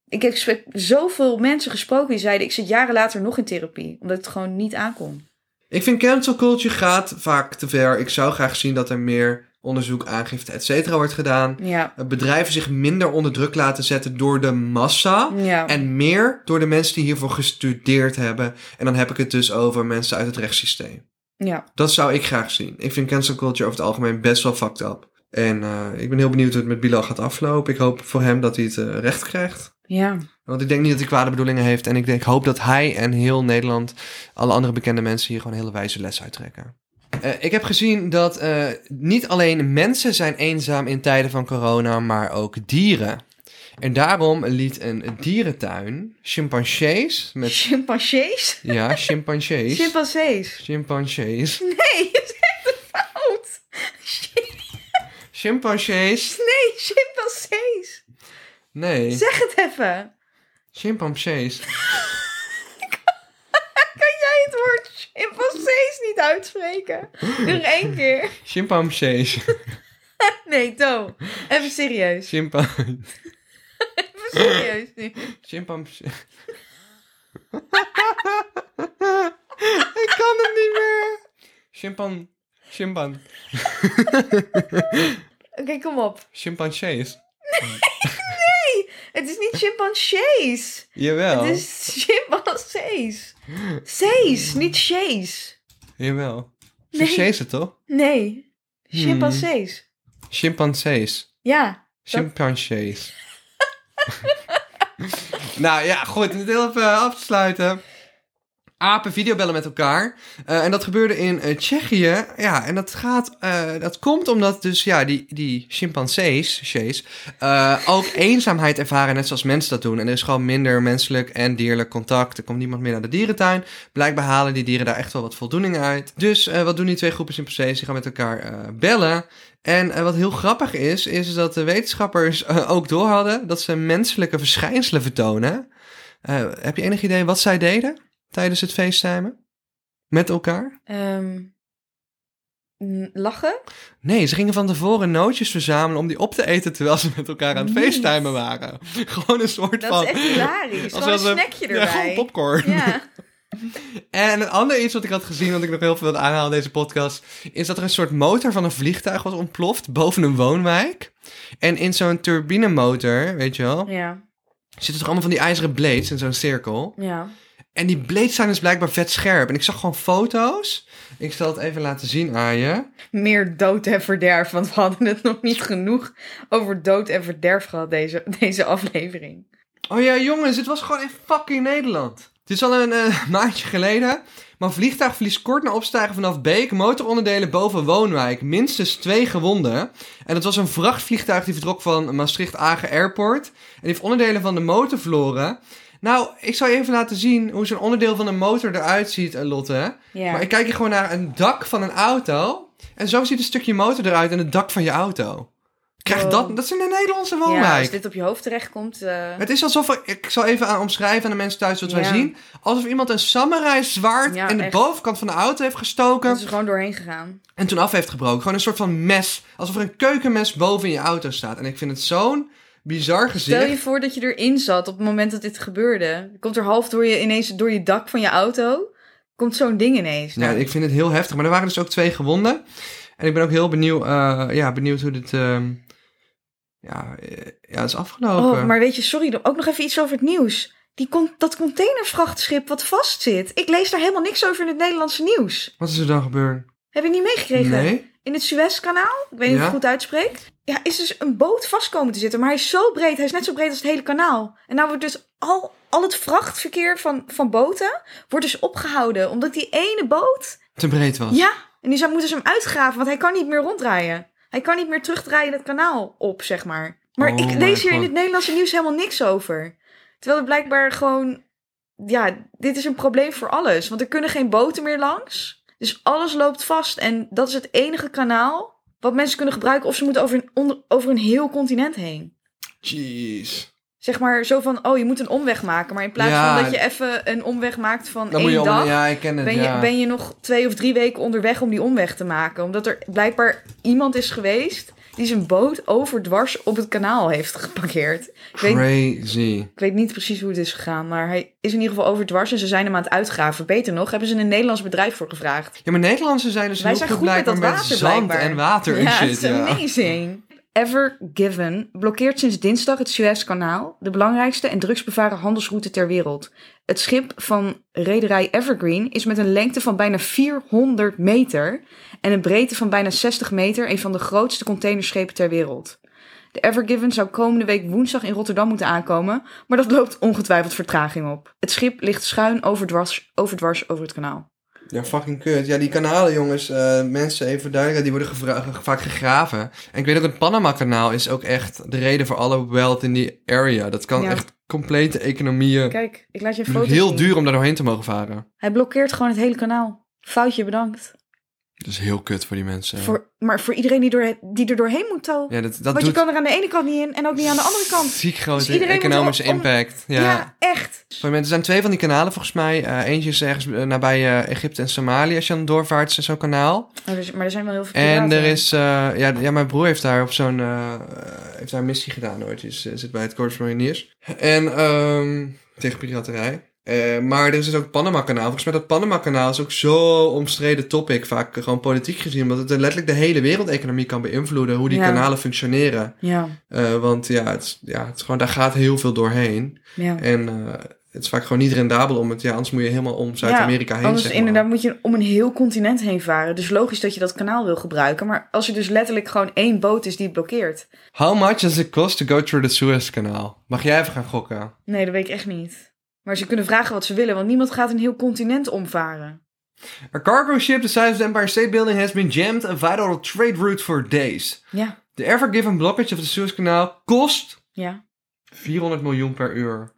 [SPEAKER 2] Ik heb gesprek- zoveel mensen gesproken die zeiden: Ik zit jaren later nog in therapie. Omdat het gewoon niet aankomt.
[SPEAKER 1] Ik vind cancel culture gaat vaak te ver. Ik zou graag zien dat er meer onderzoek, aangifte, et cetera wordt gedaan.
[SPEAKER 2] Ja.
[SPEAKER 1] Eh, Bedrijven zich minder onder druk laten zetten door de massa.
[SPEAKER 2] ja.
[SPEAKER 1] En meer door de mensen die hiervoor gestudeerd hebben. En dan heb ik het dus over mensen uit het rechtssysteem.
[SPEAKER 2] ja.
[SPEAKER 1] Dat zou ik graag zien. Ik vind cancel culture over het algemeen best wel fucked up. En eh, ik ben heel benieuwd hoe het met Bilal gaat aflopen. Ik hoop voor hem dat hij het eh, recht krijgt.
[SPEAKER 2] ja.
[SPEAKER 1] Want ik denk niet dat hij kwade bedoelingen heeft. En ik, denk, ik hoop dat hij en heel Nederland, alle andere bekende mensen hier gewoon hele wijze les uittrekken. Eh, ik heb gezien dat eh, niet alleen mensen zijn eenzaam in tijden van corona, maar ook dieren. En daarom liet een dierentuin chimpansees met...
[SPEAKER 2] Chimpansees?
[SPEAKER 1] Ja, chimpansees.
[SPEAKER 2] Chimpansees.
[SPEAKER 1] Chimpansees.
[SPEAKER 2] Nee, je zegt het fout.
[SPEAKER 1] Chimpansees.
[SPEAKER 2] Nee, chimpansees.
[SPEAKER 1] Nee,
[SPEAKER 2] Zeg het even.
[SPEAKER 1] chimpansees.
[SPEAKER 2] Kan jij het woord chimpansees niet uitspreken? Nog één keer.
[SPEAKER 1] Chimpansees.
[SPEAKER 2] Nee, To. Even serieus.
[SPEAKER 1] Chimpa...
[SPEAKER 2] Even serieus nu.
[SPEAKER 1] Chimpansees. Ik kan het niet meer. Chimpan. Chimpan.
[SPEAKER 2] Oké, kom op.
[SPEAKER 1] Chimpansees.
[SPEAKER 2] Het is niet chimpansees.
[SPEAKER 1] Jawel.
[SPEAKER 2] Het is chimpansees. Sees, niet chees.
[SPEAKER 1] Jawel. Ze
[SPEAKER 2] Nee.
[SPEAKER 1] cheesen, toch?
[SPEAKER 2] Nee, chimpansees.
[SPEAKER 1] Chimpansees.
[SPEAKER 2] Ja,
[SPEAKER 1] Chimpansees. nou ja, goed. Om dit heel even eh, af te sluiten. Apen videobellen met elkaar. Eh, en dat gebeurde in eh, Tsjechië. Ja, en dat gaat... eh, dat komt omdat dus, ja, die, die chimpansees, sjees, eh, ook eenzaamheid ervaren, net zoals mensen dat doen. En er is gewoon minder menselijk en dierlijk contact. Er komt niemand meer naar de dierentuin. Blijkbaar halen die dieren daar echt wel wat voldoening uit. Dus eh, wat doen die twee groepen chimpansees? Die gaan met elkaar eh, bellen. En eh, wat heel grappig is, is dat de wetenschappers eh, ook door hadden dat ze menselijke verschijnselen vertonen. Eh, heb je enig idee wat zij deden tijdens het feesttimen? Met elkaar?
[SPEAKER 2] ehm, n- lachen?
[SPEAKER 1] Nee, ze gingen van tevoren nootjes verzamelen om die op te eten terwijl ze met elkaar aan het
[SPEAKER 2] Niet.
[SPEAKER 1] feesttimen waren. Gewoon een soort
[SPEAKER 2] Dat
[SPEAKER 1] van...
[SPEAKER 2] is echt hilarisch.
[SPEAKER 1] Als
[SPEAKER 2] Gewoon een
[SPEAKER 1] wel ze-
[SPEAKER 2] snackje
[SPEAKER 1] Ja, gewoon
[SPEAKER 2] erbij.
[SPEAKER 1] popcorn.
[SPEAKER 2] Ja.
[SPEAKER 1] En een ander iets wat ik had gezien, wat ik nog heel veel wil aanhalen in deze podcast, is dat er een soort motor van een vliegtuig was ontploft boven een woonwijk. En in zo'n turbinemotor, weet je wel,
[SPEAKER 2] Ja,
[SPEAKER 1] zitten toch allemaal van die ijzeren blades in zo'n cirkel.
[SPEAKER 2] ja.
[SPEAKER 1] En die blades zijn dus blijkbaar vet scherp. En ik zag gewoon foto's. Ik zal het even laten zien aan je.
[SPEAKER 2] Meer dood en verderf, want we hadden het nog niet genoeg over dood en verderf gehad, deze, deze aflevering.
[SPEAKER 1] Oh ja, jongens, het was gewoon in fucking Nederland. Het is al een eh, maandje geleden. Maar vliegtuig verliest kort na opstijgen vanaf Beek motoronderdelen boven Woonwijk. Minstens twee gewonden. En dat was een vrachtvliegtuig die vertrok van Maastricht-Agen Airport. En die heeft onderdelen van de motor verloren. Nou, ik zal je even laten zien hoe zo'n onderdeel van een motor eruit ziet, eh, Lotte.
[SPEAKER 2] Ja.
[SPEAKER 1] Maar ik kijk hier gewoon naar een dak van een auto. En zo ziet een stukje motor eruit en het dak van je auto. Krijg
[SPEAKER 2] Wow.
[SPEAKER 1] dat? Dat is in een Nederlandse woonwijk.
[SPEAKER 2] ja, als dit op je hoofd terechtkomt. eh
[SPEAKER 1] Het is alsof er, ik zal even aan omschrijven aan de mensen thuis wat wij
[SPEAKER 2] Ja.
[SPEAKER 1] zien. Alsof iemand een samurai zwaard
[SPEAKER 2] Ja,
[SPEAKER 1] in de
[SPEAKER 2] echt.
[SPEAKER 1] bovenkant van de auto heeft gestoken
[SPEAKER 2] dat is er gewoon doorheen gegaan.
[SPEAKER 1] en toen af heeft gebroken. Gewoon een soort van mes. Alsof er een keukenmes boven in je auto staat. En ik vind het zo'n bizar gezicht.
[SPEAKER 2] Stel je voor dat je erin zat op het moment dat dit gebeurde. Komt er half door je ineens door je dak van je auto. Komt zo'n ding ineens.
[SPEAKER 1] Ja, ik vind het heel heftig. Maar er waren dus ook twee gewonden. En ik ben ook heel benieuwd, eh, ja, benieuwd hoe dit ehm, ja, eh, ja, is afgelopen.
[SPEAKER 2] Oh, maar weet je, sorry, dan ook nog even iets over het nieuws. Die con- dat containervrachtschip wat vastzit. Ik lees daar helemaal niks over in het Nederlandse nieuws.
[SPEAKER 1] Wat is er dan gebeurd?
[SPEAKER 2] Heb je niet meegekregen?
[SPEAKER 1] Nee?
[SPEAKER 2] in het Suezkanaal, ik weet niet of ik
[SPEAKER 1] Ja.
[SPEAKER 2] het goed uitspreek, ja, is dus een boot vast komen te zitten. Maar hij is zo breed, hij is net zo breed als het hele kanaal. En nou wordt dus al, al het vrachtverkeer van, van boten wordt dus opgehouden. Omdat die ene boot,
[SPEAKER 1] Te breed was.
[SPEAKER 2] ja, en die zou moeten ze hem uitgraven, want hij kan niet meer ronddraaien. Hij Hij kan niet meer terugdraaien dat kanaal op, zeg maar. Maar
[SPEAKER 1] Oh
[SPEAKER 2] ik
[SPEAKER 1] my
[SPEAKER 2] lees hier in
[SPEAKER 1] God.
[SPEAKER 2] het Nederlandse nieuws helemaal niks over. Terwijl het blijkbaar gewoon... Ja, dit is een probleem voor alles. Want er kunnen geen boten meer langs. Dus alles loopt vast. En dat is het enige kanaal wat mensen kunnen gebruiken. Of ze moeten over een, onder- over een heel continent heen.
[SPEAKER 1] Jeez.
[SPEAKER 2] Zeg maar zo van, oh, je moet een omweg maken. Maar in plaats
[SPEAKER 1] Ja.
[SPEAKER 2] van dat je even een omweg maakt van
[SPEAKER 1] Dan moet
[SPEAKER 2] één
[SPEAKER 1] je om-
[SPEAKER 2] dag...
[SPEAKER 1] Ja, ik ken het,
[SPEAKER 2] ben,
[SPEAKER 1] ja.
[SPEAKER 2] je, ben je nog twee of drie weken onderweg om die omweg te maken. Omdat er blijkbaar iemand is geweest die zijn boot overdwars op het kanaal heeft geparkeerd. Ik weet,
[SPEAKER 1] Crazy.
[SPEAKER 2] ik weet niet precies hoe het is gegaan, maar hij is in ieder geval overdwars en ze zijn hem aan het uitgraven. Beter nog, hebben ze een Nederlands bedrijf voor gevraagd.
[SPEAKER 1] Ja, maar Nederlandse zijn dus
[SPEAKER 2] Wij
[SPEAKER 1] heel
[SPEAKER 2] zijn
[SPEAKER 1] goed
[SPEAKER 2] goed met dat
[SPEAKER 1] blijkbaar met
[SPEAKER 2] water
[SPEAKER 1] zand
[SPEAKER 2] blijkbaar.
[SPEAKER 1] en water en
[SPEAKER 2] ja,
[SPEAKER 1] shit.
[SPEAKER 2] it's
[SPEAKER 1] ja.
[SPEAKER 2] amazing. Ever Given blokkeert sinds dinsdag het Suezkanaal, de belangrijkste en drugsbevaren handelsroute ter wereld. Het schip van rederij Evergreen is met een lengte van bijna 400 meter en een breedte van bijna 60 meter een van de grootste containerschepen ter wereld. De Evergiven zou komende week woensdag in Rotterdam moeten aankomen, maar dat loopt ongetwijfeld vertraging op. Het schip ligt schuin overdwars, overdwars over het kanaal.
[SPEAKER 1] Ja, fucking kut. Ja, die kanalen, jongens, eh, mensen, even duidelijk, die worden gevra- ge- vaak gegraven. En ik weet ook, het Panama-kanaal is ook echt de reden voor alle wealth in die area. Dat kan
[SPEAKER 2] Ja.
[SPEAKER 1] echt complete economieën.
[SPEAKER 2] Kijk, ik laat je een foto
[SPEAKER 1] Heel
[SPEAKER 2] zien.
[SPEAKER 1] duur om daar doorheen te mogen varen.
[SPEAKER 2] Hij blokkeert gewoon het hele kanaal. Foutje bedankt.
[SPEAKER 1] Dat is heel kut voor die mensen.
[SPEAKER 2] Voor, maar voor iedereen die, door, die er doorheen moet, Tal.
[SPEAKER 1] Ja, dat, dat
[SPEAKER 2] Want
[SPEAKER 1] doet
[SPEAKER 2] je kan er aan de ene kant niet in en ook niet aan de andere kant.
[SPEAKER 1] ziek
[SPEAKER 2] Dus
[SPEAKER 1] grote
[SPEAKER 2] iedereen moet
[SPEAKER 1] economische
[SPEAKER 2] wel om-
[SPEAKER 1] impact.
[SPEAKER 2] Ja,
[SPEAKER 1] Ja.
[SPEAKER 2] echt.
[SPEAKER 1] Sorry, mensen, er zijn twee van die kanalen volgens mij. Eh, eentje is ergens eh, nabij eh, Egypte en Somalië als je dan doorvaart, is er zo'n kanaal.
[SPEAKER 2] Maar Oh, er, maar er zijn wel heel veel
[SPEAKER 1] En
[SPEAKER 2] piraten.
[SPEAKER 1] er is, eh, ja, ja, mijn broer heeft daar op zo'n, eh, eh, heeft daar een missie gedaan ooit. Hij is- eh, zit bij het Corps Mariniers. En, ehm, tegen piraterij. Eh, maar er is dus ook het Panama-kanaal. Volgens mij dat Panama-kanaal is ook zo omstreden topic, vaak eh, gewoon politiek gezien. Omdat het eh, letterlijk de hele wereldeconomie kan beïnvloeden, hoe die
[SPEAKER 2] Ja.
[SPEAKER 1] kanalen functioneren.
[SPEAKER 2] Ja,
[SPEAKER 1] Eh, want ja het, is- ja, het is gewoon, daar gaat heel veel doorheen.
[SPEAKER 2] ja.
[SPEAKER 1] En eh, het is vaak gewoon niet rendabel om het, ja, anders moet je helemaal om Zuid-Amerika heen.
[SPEAKER 2] Anders
[SPEAKER 1] zeg maar.
[SPEAKER 2] inderdaad moet je om een heel continent heen varen. Dus logisch dat je dat kanaal wil gebruiken. Maar als er dus letterlijk gewoon één boot is die het blokkeert.
[SPEAKER 1] How much does it cost to go through the Suez Kanaal? Mag jij even gaan gokken?
[SPEAKER 2] Nee, dat weet ik echt niet. Maar ze kunnen vragen wat ze willen, want niemand gaat een heel continent omvaren.
[SPEAKER 1] A cargo ship the size of the Empire State Building has been jammed, a vital trade route for days.
[SPEAKER 2] Ja,
[SPEAKER 1] The ever given blockage of the Suez Kanaal kost
[SPEAKER 2] ja.
[SPEAKER 1] 400 miljoen per uur.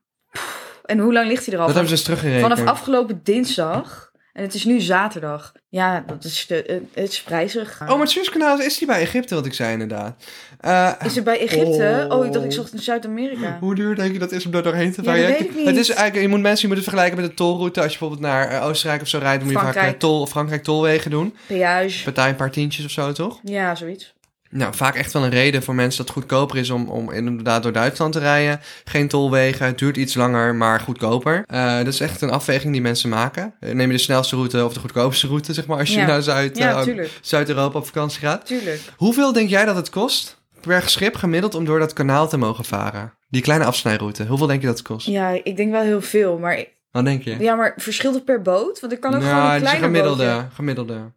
[SPEAKER 2] En hoe lang ligt hij er al?
[SPEAKER 1] Dat
[SPEAKER 2] Van-
[SPEAKER 1] hebben ze dus teruggerekend.
[SPEAKER 2] Vanaf afgelopen dinsdag. En het is nu zaterdag. Ja, dat is de, eh, het is prijzig.
[SPEAKER 1] Oh, maar het Suez Kanaal is die bij Egypte, wat ik zei inderdaad. Eh,
[SPEAKER 2] Is het bij Egypte?
[SPEAKER 1] Oh.
[SPEAKER 2] Oh, ik dacht ik zocht in Zuid-Amerika.
[SPEAKER 1] Hoe duur denk je dat is om daar doorheen te
[SPEAKER 2] Ja, dat
[SPEAKER 1] rijden?
[SPEAKER 2] weet ik niet.
[SPEAKER 1] Het is eigenlijk, je moet mensen je moet het vergelijken met een tolroute. Als je bijvoorbeeld naar eh, Oostenrijk of zo rijdt, moet je vaak
[SPEAKER 2] Frankrijk.
[SPEAKER 1] eh, tol, Frankrijk tolwegen doen.
[SPEAKER 2] Peage.
[SPEAKER 1] Partij een paar tientjes of zo, toch?
[SPEAKER 2] Ja, zoiets.
[SPEAKER 1] Nou, vaak echt wel een reden voor mensen dat het goedkoper is om, om inderdaad door Duitsland te rijden. Geen tolwegen, het duurt iets langer, maar goedkoper. Eh, dat is echt een afweging die mensen maken. Eh, Neem je de snelste route of de goedkoopste route, zeg maar, als je
[SPEAKER 2] Ja.
[SPEAKER 1] naar Zuid,
[SPEAKER 2] Ja,
[SPEAKER 1] eh,
[SPEAKER 2] tuurlijk.
[SPEAKER 1] Zuid-Europa op vakantie gaat.
[SPEAKER 2] Tuurlijk.
[SPEAKER 1] Hoeveel denk jij dat het kost per schip gemiddeld om door dat kanaal te mogen varen? Die kleine afsnijroute, hoeveel denk je dat het kost?
[SPEAKER 2] Ja, ik denk wel heel veel. Maar, ik-
[SPEAKER 1] Wat denk je?
[SPEAKER 2] ja, maar verschilt het per boot? Want er kan ook
[SPEAKER 1] Nou,
[SPEAKER 2] gewoon een
[SPEAKER 1] het is een
[SPEAKER 2] kleiner
[SPEAKER 1] gemiddelde.
[SPEAKER 2] bootje.
[SPEAKER 1] gemiddelde.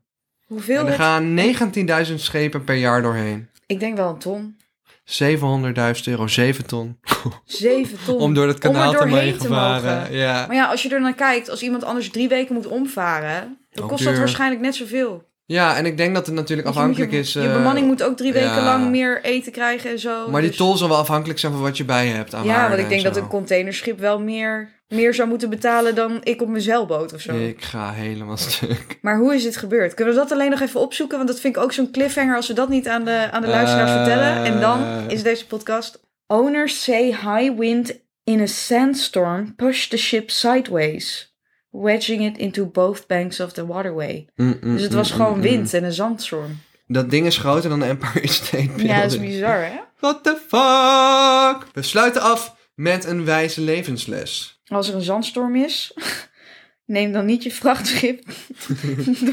[SPEAKER 2] Hoeveel?
[SPEAKER 1] en er
[SPEAKER 2] het-
[SPEAKER 1] gaan 19.000 schepen per jaar doorheen.
[SPEAKER 2] Ik denk wel een ton.
[SPEAKER 1] 700.000 euro, 7 ton.
[SPEAKER 2] Zeven ton.
[SPEAKER 1] Om door dat
[SPEAKER 2] Om er
[SPEAKER 1] kanaal te
[SPEAKER 2] doorheen
[SPEAKER 1] mogen
[SPEAKER 2] te
[SPEAKER 1] varen.
[SPEAKER 2] mogen.
[SPEAKER 1] Ja.
[SPEAKER 2] Maar ja, als je er naar kijkt, als iemand anders drie weken moet omvaren, dan
[SPEAKER 1] Ook
[SPEAKER 2] kost
[SPEAKER 1] duur.
[SPEAKER 2] dat waarschijnlijk net zoveel.
[SPEAKER 1] ja, en ik denk dat het natuurlijk
[SPEAKER 2] Want je moet je-
[SPEAKER 1] afhankelijk is.
[SPEAKER 2] Je,
[SPEAKER 1] eh,
[SPEAKER 2] bemanning moet ook drie
[SPEAKER 1] ja.
[SPEAKER 2] weken lang meer eten krijgen en zo.
[SPEAKER 1] maar die
[SPEAKER 2] dus-
[SPEAKER 1] tol zal wel afhankelijk zijn van wat je bij je hebt. Aan
[SPEAKER 2] Ja,
[SPEAKER 1] waarde
[SPEAKER 2] want ik
[SPEAKER 1] en
[SPEAKER 2] denk dat
[SPEAKER 1] zo.
[SPEAKER 2] een containerschip wel meer, meer zou moeten betalen dan ik op mijn zeilboot of zo.
[SPEAKER 1] Ik ga helemaal stuk.
[SPEAKER 2] Maar hoe is dit gebeurd? Kunnen we dat alleen nog even opzoeken? Want dat vind ik ook zo'n cliffhanger als we dat niet aan de, aan de luisteraars
[SPEAKER 1] Eh.
[SPEAKER 2] vertellen. En dan is deze podcast. Owners say high wind in a sandstorm pushed the ship sideways, wedging it into both banks of the waterway.
[SPEAKER 1] Mm, mm,
[SPEAKER 2] Dus het was
[SPEAKER 1] mm,
[SPEAKER 2] gewoon
[SPEAKER 1] mm,
[SPEAKER 2] wind en een zandstorm.
[SPEAKER 1] mm. Dat ding is groter dan de Empire State Building.
[SPEAKER 2] Ja, dat is bizar, hè?
[SPEAKER 1] What the fuck? We sluiten af met een wijze levensles.
[SPEAKER 2] Als er een zandstorm is, neem dan niet je vrachtschip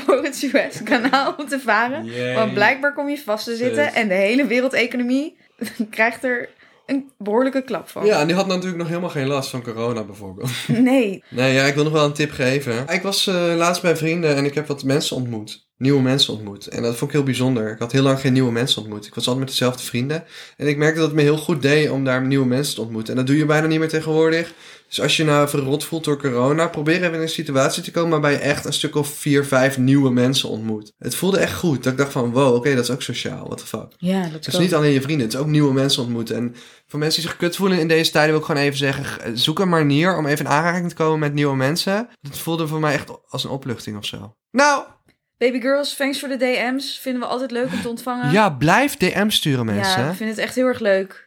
[SPEAKER 2] door het Suezkanaal om te varen.
[SPEAKER 1] Jee.
[SPEAKER 2] Want blijkbaar kom je vast te
[SPEAKER 1] Zus.
[SPEAKER 2] zitten en de hele wereldeconomie krijgt er een behoorlijke klap van.
[SPEAKER 1] Ja, en die had natuurlijk nog helemaal geen last van corona bijvoorbeeld.
[SPEAKER 2] Nee,
[SPEAKER 1] Nee, ja, ik wil nog wel een tip geven. Ik was eh, laatst bij vrienden en ik heb wat mensen ontmoet. nieuwe mensen ontmoet. En dat vond ik heel bijzonder. Ik had heel lang geen nieuwe mensen ontmoet. Ik was altijd met dezelfde vrienden. En ik merkte dat het me heel goed deed om daar nieuwe mensen te ontmoeten. En dat doe je bijna niet meer tegenwoordig. Dus als je nou verrot voelt door corona, probeer even in een situatie te komen waarbij je echt een stuk of vier, vijf nieuwe mensen ontmoet. Het voelde echt goed. Dat ik dacht van, wow, oké, dat is ook sociaal. What the fuck.
[SPEAKER 2] Ja, dat
[SPEAKER 1] Het is
[SPEAKER 2] kan.
[SPEAKER 1] niet alleen je vrienden, het is ook nieuwe mensen ontmoeten. En voor mensen die zich kut voelen in deze tijden wil ik gewoon even zeggen, eh, zoek een manier om even in aanraking te komen met nieuwe mensen. Dat voelde voor mij echt als een opluchting of zo. Nou,
[SPEAKER 2] Baby girls, thanks voor de DM's. Vinden we altijd leuk om te ontvangen.
[SPEAKER 1] ja, blijf DM sturen mensen.
[SPEAKER 2] Ja,
[SPEAKER 1] Ja,
[SPEAKER 2] ik vind het echt heel erg leuk.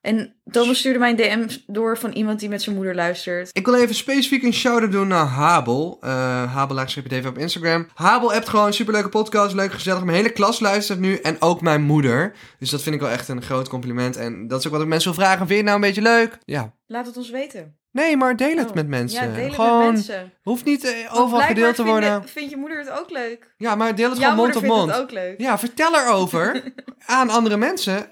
[SPEAKER 2] En Thomas stuurde mij een DM door van iemand die met zijn moeder luistert.
[SPEAKER 1] Ik wil even specifiek een shout-out doen naar Habel. Eh Habel Dave op Instagram. Habel hebt gewoon een superleuke podcast, leuk gezellig. Mijn hele klas luistert nu en ook mijn moeder. Dus dat vind ik wel echt een groot compliment. En dat is ook wat ik mensen wil vragen. Vind je het nou een beetje leuk? Ja.
[SPEAKER 2] Laat het ons weten.
[SPEAKER 1] Nee, maar deel het
[SPEAKER 2] Oh.
[SPEAKER 1] met mensen.
[SPEAKER 2] Ja, deel het
[SPEAKER 1] gewoon,
[SPEAKER 2] met mensen. Want
[SPEAKER 1] hoeft niet eh, overal
[SPEAKER 2] blijkbaar
[SPEAKER 1] gedeeld te
[SPEAKER 2] vinden-
[SPEAKER 1] worden.
[SPEAKER 2] Vindt je moeder het ook leuk?
[SPEAKER 1] Ja, maar deel het
[SPEAKER 2] Jouw
[SPEAKER 1] gewoon mond
[SPEAKER 2] moeder
[SPEAKER 1] op
[SPEAKER 2] vindt
[SPEAKER 1] mond.
[SPEAKER 2] het ook leuk.
[SPEAKER 1] Ja, vertel erover aan andere mensen.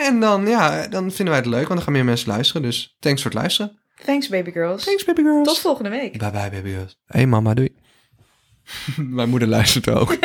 [SPEAKER 1] En dan, ja, dan vinden wij het leuk, want dan gaan meer mensen luisteren. Dus thanks voor het luisteren.
[SPEAKER 2] Thanks baby girls.
[SPEAKER 1] Thanks, baby girls.
[SPEAKER 2] Tot volgende week.
[SPEAKER 1] Bye bye, baby girls. Hey, mama, doei. Mijn moeder luistert ook.